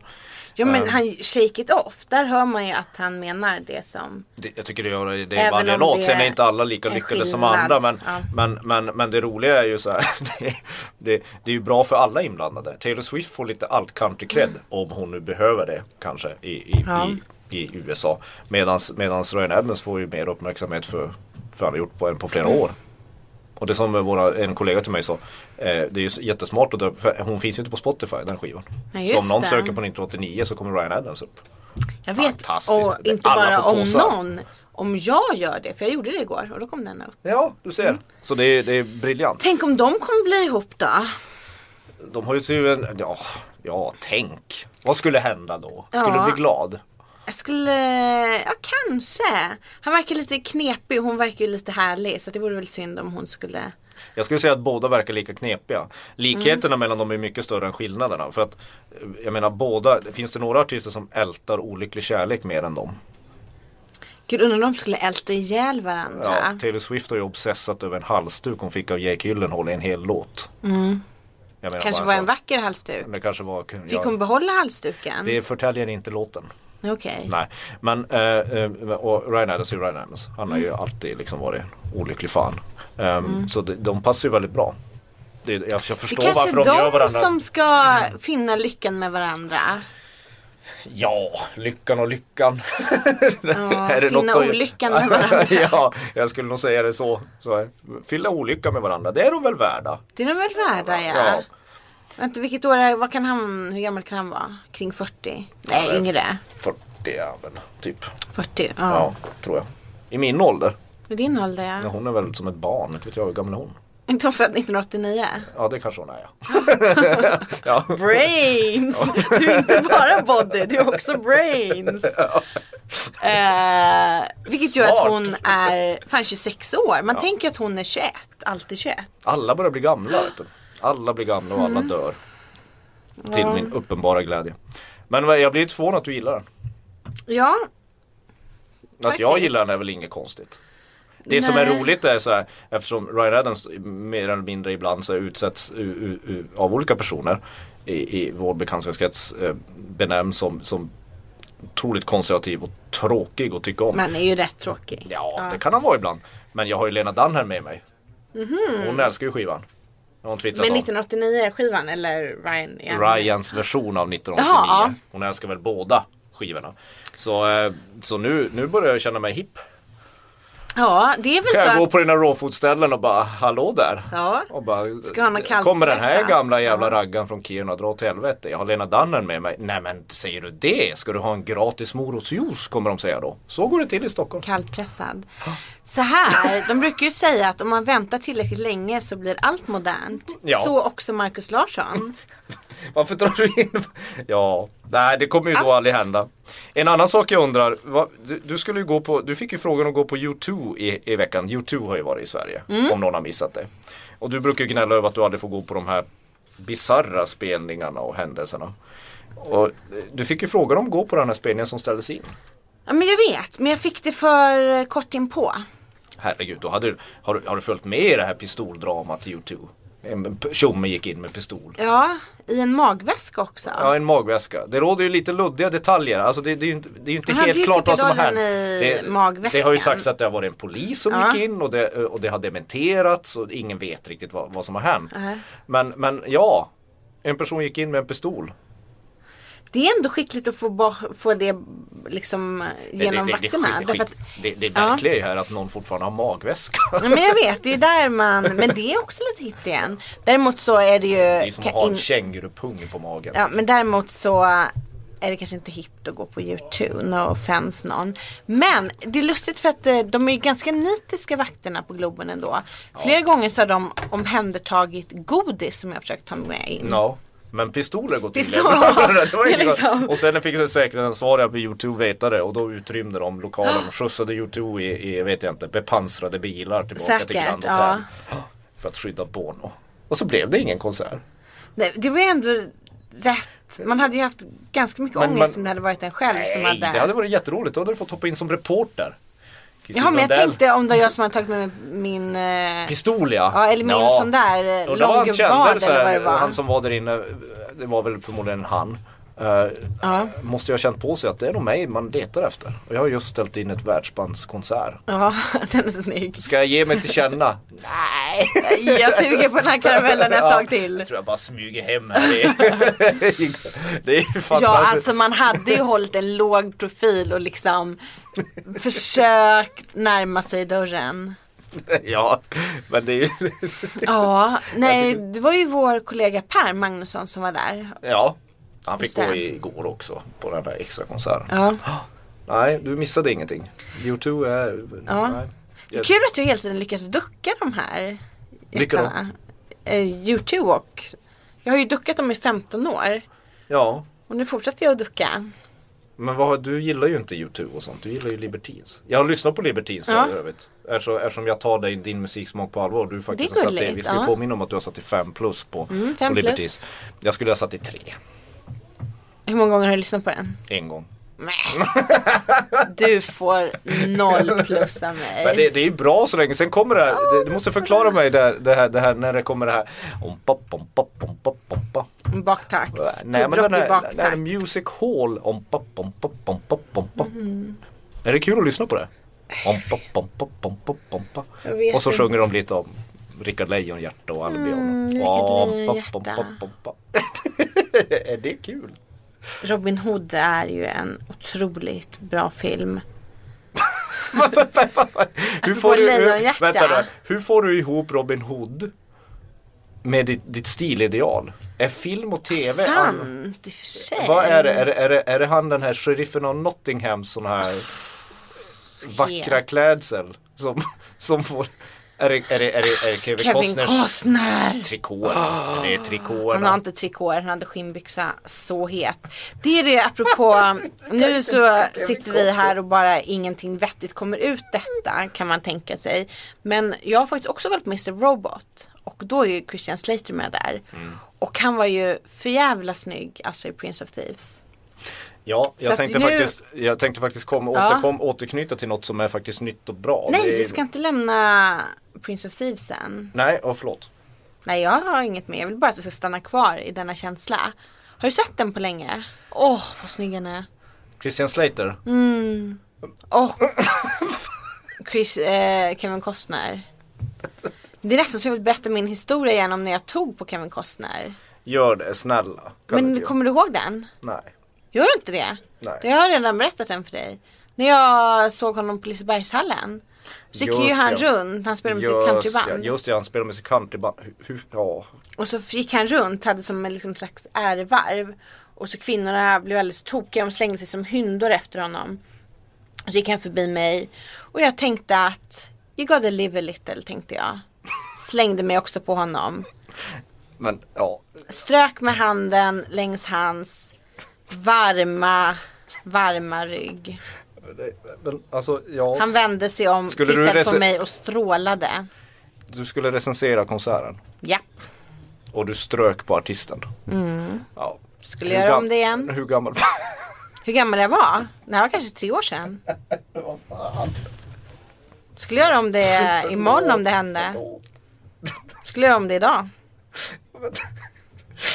[SPEAKER 2] Jo men han shake it off, där hör man ju att han menar det som
[SPEAKER 3] Det, jag tycker det gör det
[SPEAKER 2] Även
[SPEAKER 3] är varje
[SPEAKER 2] om
[SPEAKER 3] låt.
[SPEAKER 2] det
[SPEAKER 3] Sen är inte alla lika
[SPEAKER 2] är
[SPEAKER 3] lyckade som
[SPEAKER 2] skillnad.
[SPEAKER 3] andra. Men,
[SPEAKER 2] Ja.
[SPEAKER 3] men, men, men det roliga är ju så här. Det, det, det är ju bra för alla inblandade. Taylor Swift får lite alt country cred om hon nu behöver det kanske i, i,
[SPEAKER 2] Mm. Ja.
[SPEAKER 3] i, i USA. Medans, medans Ryan Adams får ju mer uppmärksamhet för, för han har gjort på, än på flera
[SPEAKER 2] Mm.
[SPEAKER 3] år. Och det som våra, en kollega till mig sa, eh, det är ju så jättesmart att döpa, för hon finns ju inte på Spotify den skivan.
[SPEAKER 2] Nej,
[SPEAKER 3] så
[SPEAKER 2] just
[SPEAKER 3] om någon
[SPEAKER 2] det.
[SPEAKER 3] söker på 1989 så kommer Ryan Adams upp.
[SPEAKER 2] Jag vet,
[SPEAKER 3] Fantastiskt.
[SPEAKER 2] och
[SPEAKER 3] Det-
[SPEAKER 2] inte
[SPEAKER 3] alla
[SPEAKER 2] bara
[SPEAKER 3] får
[SPEAKER 2] om
[SPEAKER 3] påsar.
[SPEAKER 2] någon Om jag gör det, för jag gjorde det igår och då kom den upp
[SPEAKER 3] Ja, du ser.
[SPEAKER 2] Mm.
[SPEAKER 3] Så det är, det är briljant.
[SPEAKER 2] Tänk om de kommer bli ihop då?
[SPEAKER 3] De har ju tur en, ja, ja tänk. Vad skulle hända då? Skulle
[SPEAKER 2] Ja.
[SPEAKER 3] du bli glad?
[SPEAKER 2] Jag skulle, ja kanske Han verkar lite knepig och hon verkar ju lite härlig så det vore väl synd om hon skulle
[SPEAKER 3] Jag skulle säga att båda verkar lika knepiga.
[SPEAKER 2] Mm.
[SPEAKER 3] Likheterna mellan dem är mycket större än skillnaderna. För att, eh, jag menar båda, finns det några artister som ältar olycklig kärlek mer än dem?
[SPEAKER 2] Gud undrar om de skulle älta ihjäl
[SPEAKER 3] Ja,
[SPEAKER 2] varandra
[SPEAKER 3] Taylor Swift har ju obsessat över en halsduk hon fick av Jake Gyllenhaal i en hel låt. Jag menar,
[SPEAKER 2] Mm. Kanske
[SPEAKER 3] bara
[SPEAKER 2] var
[SPEAKER 3] så-
[SPEAKER 2] en vacker halsduk
[SPEAKER 3] Det kanske var,
[SPEAKER 2] Fick hon
[SPEAKER 3] ja,
[SPEAKER 2] behålla halsduken?
[SPEAKER 3] det förtäljer inte låten.
[SPEAKER 2] Okej
[SPEAKER 3] Nej, men eh, eh, och Ryan Adams är ju Ryan Adams. Han har
[SPEAKER 2] Mm.
[SPEAKER 3] ju alltid liksom varit en olycklig fan. Ehm, Så de, de passar ju väldigt bra. Det, jag, jag
[SPEAKER 2] Det
[SPEAKER 3] förstår
[SPEAKER 2] kanske
[SPEAKER 3] varför de, gör
[SPEAKER 2] är de
[SPEAKER 3] varandra.
[SPEAKER 2] som ska finna lyckan med varandra
[SPEAKER 3] Ja, lyckan och lyckan.
[SPEAKER 2] finna
[SPEAKER 3] att-
[SPEAKER 2] olyckan med varandra.
[SPEAKER 3] ja, jag skulle nog säga det så. så här. Fylla olyckan med varandra, det är de väl värda.
[SPEAKER 2] Det är de väl värda ja.
[SPEAKER 3] Ja.
[SPEAKER 2] Vänta, vilket år är, vad kan han, hur gammal kan han vara? Kring 40? Nej, yngre.
[SPEAKER 3] 40 ja, men typ.
[SPEAKER 2] 40, ja.
[SPEAKER 3] Ja, tror jag. I min ålder.
[SPEAKER 2] Med din ålder
[SPEAKER 3] Ja,
[SPEAKER 2] ja.
[SPEAKER 3] Hon är väl som ett barn, inte vet jag hur gammal är hon?
[SPEAKER 2] Inte hon född 1989?
[SPEAKER 3] Ja, det kanske hon är ja. ja.
[SPEAKER 2] Brains! Du är inte bara body, du är också brains. Eh, vilket gör att
[SPEAKER 3] Smart.
[SPEAKER 2] hon är fan 26 år. Man tänker att hon är 21, alltid 21.
[SPEAKER 3] Alla börjar bli gamla. Vet du. Alla blir gamla och
[SPEAKER 2] Mm.
[SPEAKER 3] alla dör. Till min uppenbara glädje. Men vad- jag blir lite förvånad att du gillar den.
[SPEAKER 2] Ja,
[SPEAKER 3] Att jag
[SPEAKER 2] Faktiskt.
[SPEAKER 3] gillar den är väl inget konstigt. Det som är
[SPEAKER 2] Nej.
[SPEAKER 3] roligt är så här, eftersom Ryan Adams mer eller mindre ibland så här utsätts u, u, u, av olika personer i, i vår bekantskapskrets eh, benämns som, som otroligt konservativ och tråkig att tycka om.
[SPEAKER 2] man är ju rätt tråkig.
[SPEAKER 3] Ja, det kan han vara ibland. Men jag har ju Lena Dunn här med mig. Hon älskar ju skivan. Har hon twittrat
[SPEAKER 2] Mhm. Men
[SPEAKER 3] om.
[SPEAKER 2] 1989 skivan eller Ryan? igen?
[SPEAKER 3] Ryans version av 1989.
[SPEAKER 2] Jaha.
[SPEAKER 3] Hon älskar väl båda skivorna. Så, eh, så nu, nu börjar jag känna mig hipp.
[SPEAKER 2] Ja, det är väl
[SPEAKER 3] Kan
[SPEAKER 2] så
[SPEAKER 3] jag
[SPEAKER 2] att
[SPEAKER 3] gå på dina rawfood-ställen och bara hallå där.
[SPEAKER 2] Ja.
[SPEAKER 3] Och bara, eh,
[SPEAKER 2] Ska ha något kallt
[SPEAKER 3] kommer den här
[SPEAKER 2] pressat?
[SPEAKER 3] gamla jävla raggan från Kiruna dra åt helvete. Jag har Lena Dannen med mig. Nej men säger du det? Ska du ha en gratis morotsjuice kommer de säga då. Så går det till i Stockholm.
[SPEAKER 2] kallpressad. Så här, de brukar ju säga att om man väntar tillräckligt länge så blir allt modernt.
[SPEAKER 3] Ja.
[SPEAKER 2] Så också Markus Larsson.
[SPEAKER 3] Varför drar du in? Ja, nej det kommer ju då aldrig hända. En annan sak jag undrar, vad, du, du skulle ju gå på, du fick ju frågan att gå på U2 i, i veckan. U2 har ju varit i Sverige, om någon har missat det. Och du brukar ju gnälla över att du aldrig får gå på de här bizarra spelningarna och händelserna. Och eh, du fick ju frågan om att gå på den här spelningen som ställdes in.
[SPEAKER 2] Ja men jag vet, men jag fick det för kort inpå.
[SPEAKER 3] Herregud, då hade, du- har, du- har du följt med i det här pistoldramat i U2? En p- tjomme gick in med pistol.
[SPEAKER 2] Ja, i en magväska också.
[SPEAKER 3] Ja, en magväska. Det råder ju lite luddiga detaljer. Alltså det, det är ju inte, det är ju inte
[SPEAKER 2] Han hade
[SPEAKER 3] helt
[SPEAKER 2] ju
[SPEAKER 3] klart vad som har hänt.
[SPEAKER 2] pickadollen i
[SPEAKER 3] Det,
[SPEAKER 2] magväskan.
[SPEAKER 3] det har ju sagts att det har varit en polis som
[SPEAKER 2] Ja.
[SPEAKER 3] gick in och det, och det har dementerats och ingen vet riktigt vad, vad som har hänt. Men, men ja, en person gick in med en pistol.
[SPEAKER 2] Det är ändå skickligt att få, bo- få det liksom
[SPEAKER 3] Det, det,
[SPEAKER 2] genom
[SPEAKER 3] det, det,
[SPEAKER 2] vakterna.
[SPEAKER 3] det, det,
[SPEAKER 2] Därför att-
[SPEAKER 3] det, det
[SPEAKER 2] Ja.
[SPEAKER 3] märkliga är ju här att någon fortfarande har magväska.
[SPEAKER 2] Ja, men jag vet, det är där man, men det är också lite hippt igen. Däremot så är det ju...
[SPEAKER 3] Det är som att ha en kängurupung på magen.
[SPEAKER 2] ja, men däremot så är det kanske inte hippt att gå på YouTube, no offense någon. Men det är lustigt för att eh, de är ju ganska nitiska vakterna på Globen ändå. Flera gånger så har de omhändertagit godis som jag har försökt ta med in.
[SPEAKER 3] Ja, men pistoler går till
[SPEAKER 2] Pistol.
[SPEAKER 3] det var
[SPEAKER 2] Det är
[SPEAKER 3] inget
[SPEAKER 2] liksom-
[SPEAKER 3] bra. Och sen fick säkerhetsansvariga på YouTube veta det och då utrymde de lokalen och skjutsade YouTube i, i vet jag inte, bepansrade bilar tillbaka till
[SPEAKER 2] Säkert,
[SPEAKER 3] Grand Hotel. För att skydda Bono. Och så blev det ingen konsert.
[SPEAKER 2] Nej, det var ju ändå rätt. Man hade ju haft ganska mycket
[SPEAKER 3] Men
[SPEAKER 2] ångest
[SPEAKER 3] man-
[SPEAKER 2] om det hade varit en själv som
[SPEAKER 3] Nej,
[SPEAKER 2] hade.
[SPEAKER 3] det hade varit jätteroligt. Då hade du fått hoppa in som reporter. Kristin
[SPEAKER 2] Jaha, men jag
[SPEAKER 3] Lundell.
[SPEAKER 2] tänkte om det var jag som hade tagit med mig min... eh,
[SPEAKER 3] Pistol ja.
[SPEAKER 2] Ja, eller min sån där, eh,
[SPEAKER 3] Och det var han
[SPEAKER 2] långgubvad
[SPEAKER 3] kändare så
[SPEAKER 2] eller vad
[SPEAKER 3] här,
[SPEAKER 2] det var.
[SPEAKER 3] han som var där inne, det var väl förmodligen han. Eh, Måste jag ha känt på sig att det är nog mig man letar efter. Och jag har just ställt in ett världsbandskonsert.
[SPEAKER 2] Ja, den är snygg.
[SPEAKER 3] Ska jag ge mig till känna?
[SPEAKER 2] Jag suger på den här karamellen ett
[SPEAKER 3] Ja,
[SPEAKER 2] tag till.
[SPEAKER 3] Jag tror jag bara smyger hem här. i- det är ju fantastiskt.
[SPEAKER 2] Ja, alltså man hade ju hållit en låg profil och liksom försökt närma sig dörren.
[SPEAKER 3] ja, men det är ju...
[SPEAKER 2] Ja, nej, det var ju vår kollega Per Magnusson som var där.
[SPEAKER 3] Ja, han fick
[SPEAKER 2] Just
[SPEAKER 3] gå
[SPEAKER 2] det.
[SPEAKER 3] igår också på den där extra konserten.
[SPEAKER 2] Ja.
[SPEAKER 3] Nej, du missade ingenting. YouTube är...
[SPEAKER 2] Ja.
[SPEAKER 3] Nej.
[SPEAKER 2] Kul att du hela tiden lyckas ducka de här
[SPEAKER 3] Vilka då?
[SPEAKER 2] jättarna. Eh, YouTube och jag har ju duckat dem i 15 år
[SPEAKER 3] Ja,
[SPEAKER 2] och nu fortsätter jag att ducka.
[SPEAKER 3] men vad, har- du gillar ju inte YouTube och sånt. Du gillar ju Libertines. Jag har lyssnat på Libertines för
[SPEAKER 2] Ja.
[SPEAKER 3] övrigt. Eftersom, eftersom jag tar dig, din musiksmak på allvar. Du faktiskt
[SPEAKER 2] Det är
[SPEAKER 3] har satt dig,
[SPEAKER 2] gulligt,
[SPEAKER 3] vi ska ju
[SPEAKER 2] ja.
[SPEAKER 3] påminna om att du har satt i 5 plus på,
[SPEAKER 2] Mm,
[SPEAKER 3] på
[SPEAKER 2] fem plus.
[SPEAKER 3] Libertines. Jag skulle ha satt i 3
[SPEAKER 2] Hur många gånger har du lyssnat på den?
[SPEAKER 3] en gång.
[SPEAKER 2] Nej. Du får noll plus av mig.
[SPEAKER 3] Men det, det är ju bra så länge, sen kommer det här, det, du måste förklara mig det, här- det, här, det här när det kommer det här ompa, ompa, ompa, ompa.
[SPEAKER 2] Baktakt.
[SPEAKER 3] Nej men den
[SPEAKER 2] Pubrock i
[SPEAKER 3] här,
[SPEAKER 2] baktakt.
[SPEAKER 3] den här music hall, ompa, ompa, ompa, ompa. Är det kul att lyssna på det? Ompa, ompa, ompa, ompa.
[SPEAKER 2] Jag vet
[SPEAKER 3] Och så
[SPEAKER 2] inte. Mm,
[SPEAKER 3] sjunger de lite om Rickard Lejonhjärta och Albion.
[SPEAKER 2] Rickard
[SPEAKER 3] Ompa,
[SPEAKER 2] Lejonhjärta.
[SPEAKER 3] ompa, ompa. Är det kul?
[SPEAKER 2] Robin Hood är ju en otroligt bra film.
[SPEAKER 3] Hur
[SPEAKER 2] Apropå Lejonhjärta.
[SPEAKER 3] hur, vänta då, hur får du ihop Robin Hood med ditt, ditt stilideal? Är film och tv an-
[SPEAKER 2] Sant i och för sig.
[SPEAKER 3] Vad är det? Är det, är det? är det han den här sheriffen av Nottingham sån här vackra
[SPEAKER 2] Helt.
[SPEAKER 3] klädsel som, som får Är det, är det, är det, är det Kevin,
[SPEAKER 2] Kevin
[SPEAKER 3] Costners
[SPEAKER 2] Costner. Ah.
[SPEAKER 3] trikåer? Är det trikåerna?
[SPEAKER 2] Han har inte trikåer, han hade skinnbyxa så het. Det är det apropå, nu så sitter vi här och bara ingenting vettigt kommer ut detta kan man tänka sig. Men jag har faktiskt också kollat på Mr Robot och då är ju Christian Slater med där.
[SPEAKER 3] Mm.
[SPEAKER 2] Och han var ju för jävla snygg, alltså i Prince of Thieves.
[SPEAKER 3] Ja,
[SPEAKER 2] Så
[SPEAKER 3] jag
[SPEAKER 2] att
[SPEAKER 3] tänkte,
[SPEAKER 2] nu-
[SPEAKER 3] faktiskt, jag tänkte faktiskt kom, återkom, återknyta till något som är faktiskt nytt och bra.
[SPEAKER 2] Nej,
[SPEAKER 3] Det är-
[SPEAKER 2] vi ska inte lämna Prince of Thieves än.
[SPEAKER 3] Nej, oh, förlåt.
[SPEAKER 2] Nej, jag har inget mer, jag vill bara att vi ska stanna kvar i denna känsla. Har du sett den på länge? Åh, vad snygg han är.
[SPEAKER 3] Christian Slater.
[SPEAKER 2] Mm. Och Chris, eh, Kevin Costner. Det är nästan så jag vill berätta min historia igen om när jag tog på Kevin Costner.
[SPEAKER 3] Gör det, snälla. Kan du
[SPEAKER 2] Men
[SPEAKER 3] inte
[SPEAKER 2] kommer du ihåg den?
[SPEAKER 3] göra- Nej.
[SPEAKER 2] Gör du inte det?
[SPEAKER 3] Nej.
[SPEAKER 2] Jag har redan berättat den för dig. När jag såg honom på Lisebergshallen. Så gick
[SPEAKER 3] Just
[SPEAKER 2] ju han
[SPEAKER 3] ja.
[SPEAKER 2] runt, han spelade med sitt
[SPEAKER 3] Just ja,
[SPEAKER 2] countryband.
[SPEAKER 3] just det, han spelar med sitt countryband. Hur- hur- Ja,
[SPEAKER 2] Och så gick han runt, hade som en liksom slags ärevarv. Och så kvinnorna blev alldeles tokiga, de slängde sig som hyndor efter honom. Och så gick han förbi mig. Och jag tänkte att, you gotta live a little, tänkte jag. Slängde mig också på honom.
[SPEAKER 3] men ja.
[SPEAKER 2] Strök med handen längs hans varma, varma rygg.
[SPEAKER 3] Det- Men, alltså, ja.
[SPEAKER 2] Han vände sig om,
[SPEAKER 3] Skulle du
[SPEAKER 2] tittade på
[SPEAKER 3] rese-
[SPEAKER 2] mig och strålade.
[SPEAKER 3] Du skulle recensera konserten
[SPEAKER 2] Japp,
[SPEAKER 3] och du strök på artisten. Ja.
[SPEAKER 2] Mm. skulle
[SPEAKER 3] Hur
[SPEAKER 2] göra om
[SPEAKER 3] gam-
[SPEAKER 2] det igen.
[SPEAKER 3] Hur gammal?
[SPEAKER 2] Hur gammal jag var? Det här var kanske tre år sedan. Skulle göra om det imorgon om det hände. Skulle göra om det idag.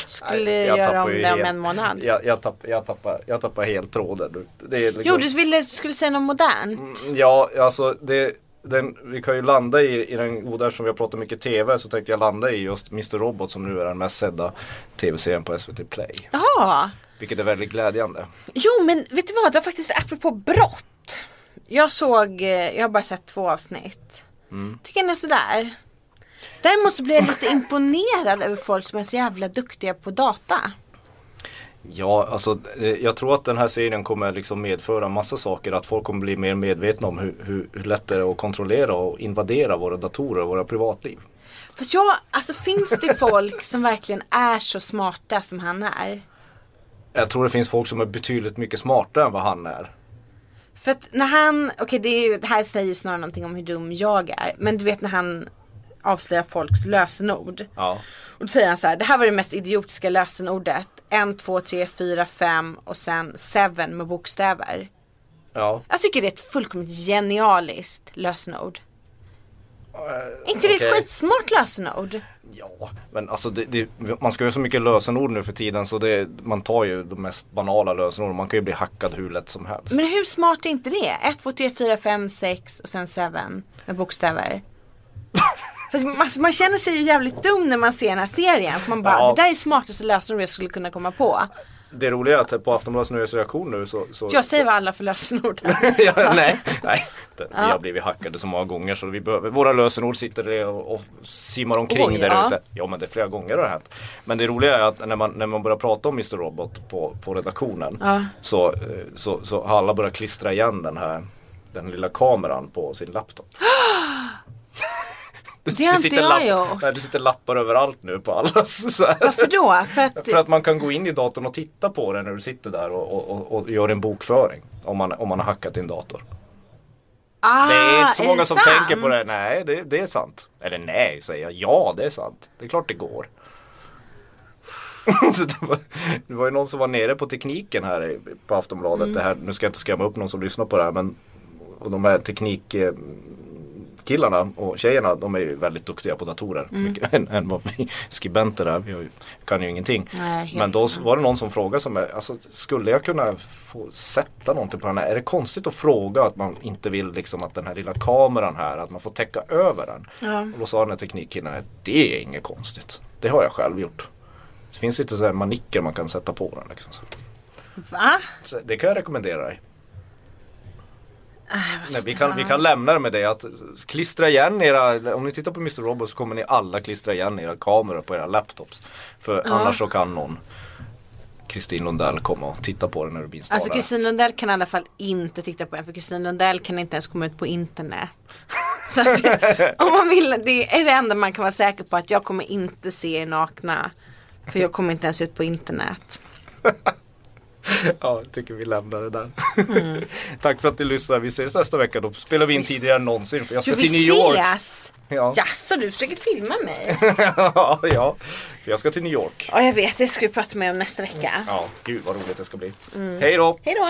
[SPEAKER 2] Skulle
[SPEAKER 3] Nej, jag
[SPEAKER 2] göra
[SPEAKER 3] tappar
[SPEAKER 2] om
[SPEAKER 3] ju
[SPEAKER 2] det om
[SPEAKER 3] helt-
[SPEAKER 2] en månad.
[SPEAKER 3] Jag, jag, tapp, jag, tappar, jag tappar helt tråden. nu. Det är liksom...
[SPEAKER 2] Jo, du ville, skulle säga något
[SPEAKER 3] Mm.
[SPEAKER 2] modernt.
[SPEAKER 3] Ja, alltså det, den, vi kan ju landa i, i den goda, eftersom vi har pratat mycket TV så tänkte jag landa i just Mr Robot som nu är den mest sedda TV-serien på SVT Play.
[SPEAKER 2] Jaha.
[SPEAKER 3] Vilket är väldigt glädjande.
[SPEAKER 2] Jo, men vet du vad? Det var faktiskt apropå brott. Jag såg, eh, jag har bara sett två avsnitt.
[SPEAKER 3] Mm.
[SPEAKER 2] Tycker den är sådär. Däremot så blir jag lite imponerad över folk som är så jävla duktiga på data.
[SPEAKER 3] Ja, alltså eh, jag tror att den här serien kommer liksom medföra massa saker. Att folk kommer bli mer medvetna om hur, hur, hur lätt det är att kontrollera och invadera våra datorer och våra privatliv.
[SPEAKER 2] Fast jag, alltså finns det folk som verkligen är så smarta som han är?
[SPEAKER 3] Jag tror det finns folk som är betydligt mycket smartare än vad han är.
[SPEAKER 2] För att när han, okej det, är ju- det här säger ju snarare någonting om hur dum jag är. Men du vet när han avslöjar folks lösenord.
[SPEAKER 3] Ja.
[SPEAKER 2] Och då säger han så här, det här var det mest idiotiska lösenordet. 1, 2, 3, 4, 5 och sen 7 med bokstäver.
[SPEAKER 3] Ja.
[SPEAKER 2] Jag tycker det är ett fullkomligt genialiskt lösenord. inte det
[SPEAKER 3] okej.
[SPEAKER 2] ett skitsmart lösenord?
[SPEAKER 3] Eh, Ja, men alltså det, det, man ska ju ha så mycket lösenord nu för tiden så det, man tar ju de mest banala lösenorden. Man kan ju bli hackad hur lätt som helst.
[SPEAKER 2] Men hur smart är inte det? 1, 2, 3, 4, 5, 6 och sen 7 med bokstäver. Fast man, alltså, man känner sig ju jävligt dum när man ser den här serien. För man bara,
[SPEAKER 3] Ja.
[SPEAKER 2] det där är smartaste lösenordet jag skulle kunna komma på.
[SPEAKER 3] Det roliga är att på Aftonbladets reaktion nu så... så
[SPEAKER 2] Jag säger vad alla för lösenord är.
[SPEAKER 3] ja, nej, nej. Det, Vi har blivit hackade så många gånger så vi behöver, våra lösenord sitter det och, och simmar omkring
[SPEAKER 2] Oj,
[SPEAKER 3] där
[SPEAKER 2] ja.
[SPEAKER 3] ute. Ja men det är flera gånger det har hänt. Men det roliga är att när man, när man börjar prata om Mr Robot på, på redaktionen så, eh, så, så har alla börjat klistra igen den här den lilla kameran på sin laptop.
[SPEAKER 2] Det har inte jag gjort.
[SPEAKER 3] nej, det sitter lappar överallt nu på allas. Så här.
[SPEAKER 2] Varför då? För att,
[SPEAKER 3] För att man kan gå in i datorn och titta på den när du sitter där och, och, och, och gör en bokföring. Om man, om man har hackat din dator.
[SPEAKER 2] ah,
[SPEAKER 3] Det är inte så många
[SPEAKER 2] det
[SPEAKER 3] som
[SPEAKER 2] sant?
[SPEAKER 3] tänker på det. Nej, det, det är sant. Eller nej, säger jag. Ja, det är sant. Det är klart det går. så det, var, det var ju någon som var nere på tekniken här i- på Aftonbladet.
[SPEAKER 2] Mm.
[SPEAKER 3] Det här, nu ska jag inte skrämma upp någon som lyssnar på det här men och de här teknikkillarna och tjejerna de är ju väldigt duktiga på datorer.
[SPEAKER 2] Mm.
[SPEAKER 3] Mycket, än, än vad vi skribenter är. Vi har ju- kan ju ingenting.
[SPEAKER 2] Nej, helt
[SPEAKER 3] men då var det någon som frågade som är, alltså, skulle jag kunna få sätta någonting på den här? Är det konstigt att fråga att man inte vill liksom att den här lilla kameran här, att man får täcka över den? Och då sa den här teknikkillen, det är inget konstigt. Det har jag själv gjort. Det finns inte så här manicker man kan sätta på den. Liksom.
[SPEAKER 2] Va?
[SPEAKER 3] Så det kan jag rekommendera dig.
[SPEAKER 2] Äh,
[SPEAKER 3] Nej, vi, kan, vi kan lämna det med det att klistra igen era, om ni tittar på Mr Robot så kommer ni alla klistra igen era kameror på era laptops. För annars så kan någon, Kristin Lundell, komma och titta på den när du blir
[SPEAKER 2] Alltså
[SPEAKER 3] installerad.
[SPEAKER 2] Kristin Lundell kan i alla fall inte titta på en för Kristin Lundell kan inte ens komma ut på internet. Så att, om man vill, det är det enda man kan vara säker på att jag kommer inte se er nakna. För jag kommer inte ens ut på internet.
[SPEAKER 3] Ja, jag tycker vi lämnar det där.
[SPEAKER 2] Mm.
[SPEAKER 3] Tack för att ni lyssnar. Vi ses nästa vecka. Då spelar vi in tidigare än någonsin. För jag
[SPEAKER 2] Så
[SPEAKER 3] ska
[SPEAKER 2] vi
[SPEAKER 3] till New York.
[SPEAKER 2] ses!
[SPEAKER 3] Ja.
[SPEAKER 2] Jaså du försöker filma mig?
[SPEAKER 3] ja, ja. För jag ska till New York.
[SPEAKER 2] Ja jag vet, det ska vi prata mer om nästa vecka. Mm.
[SPEAKER 3] Ja, gud vad roligt det ska bli. Hej då!
[SPEAKER 2] Hej då!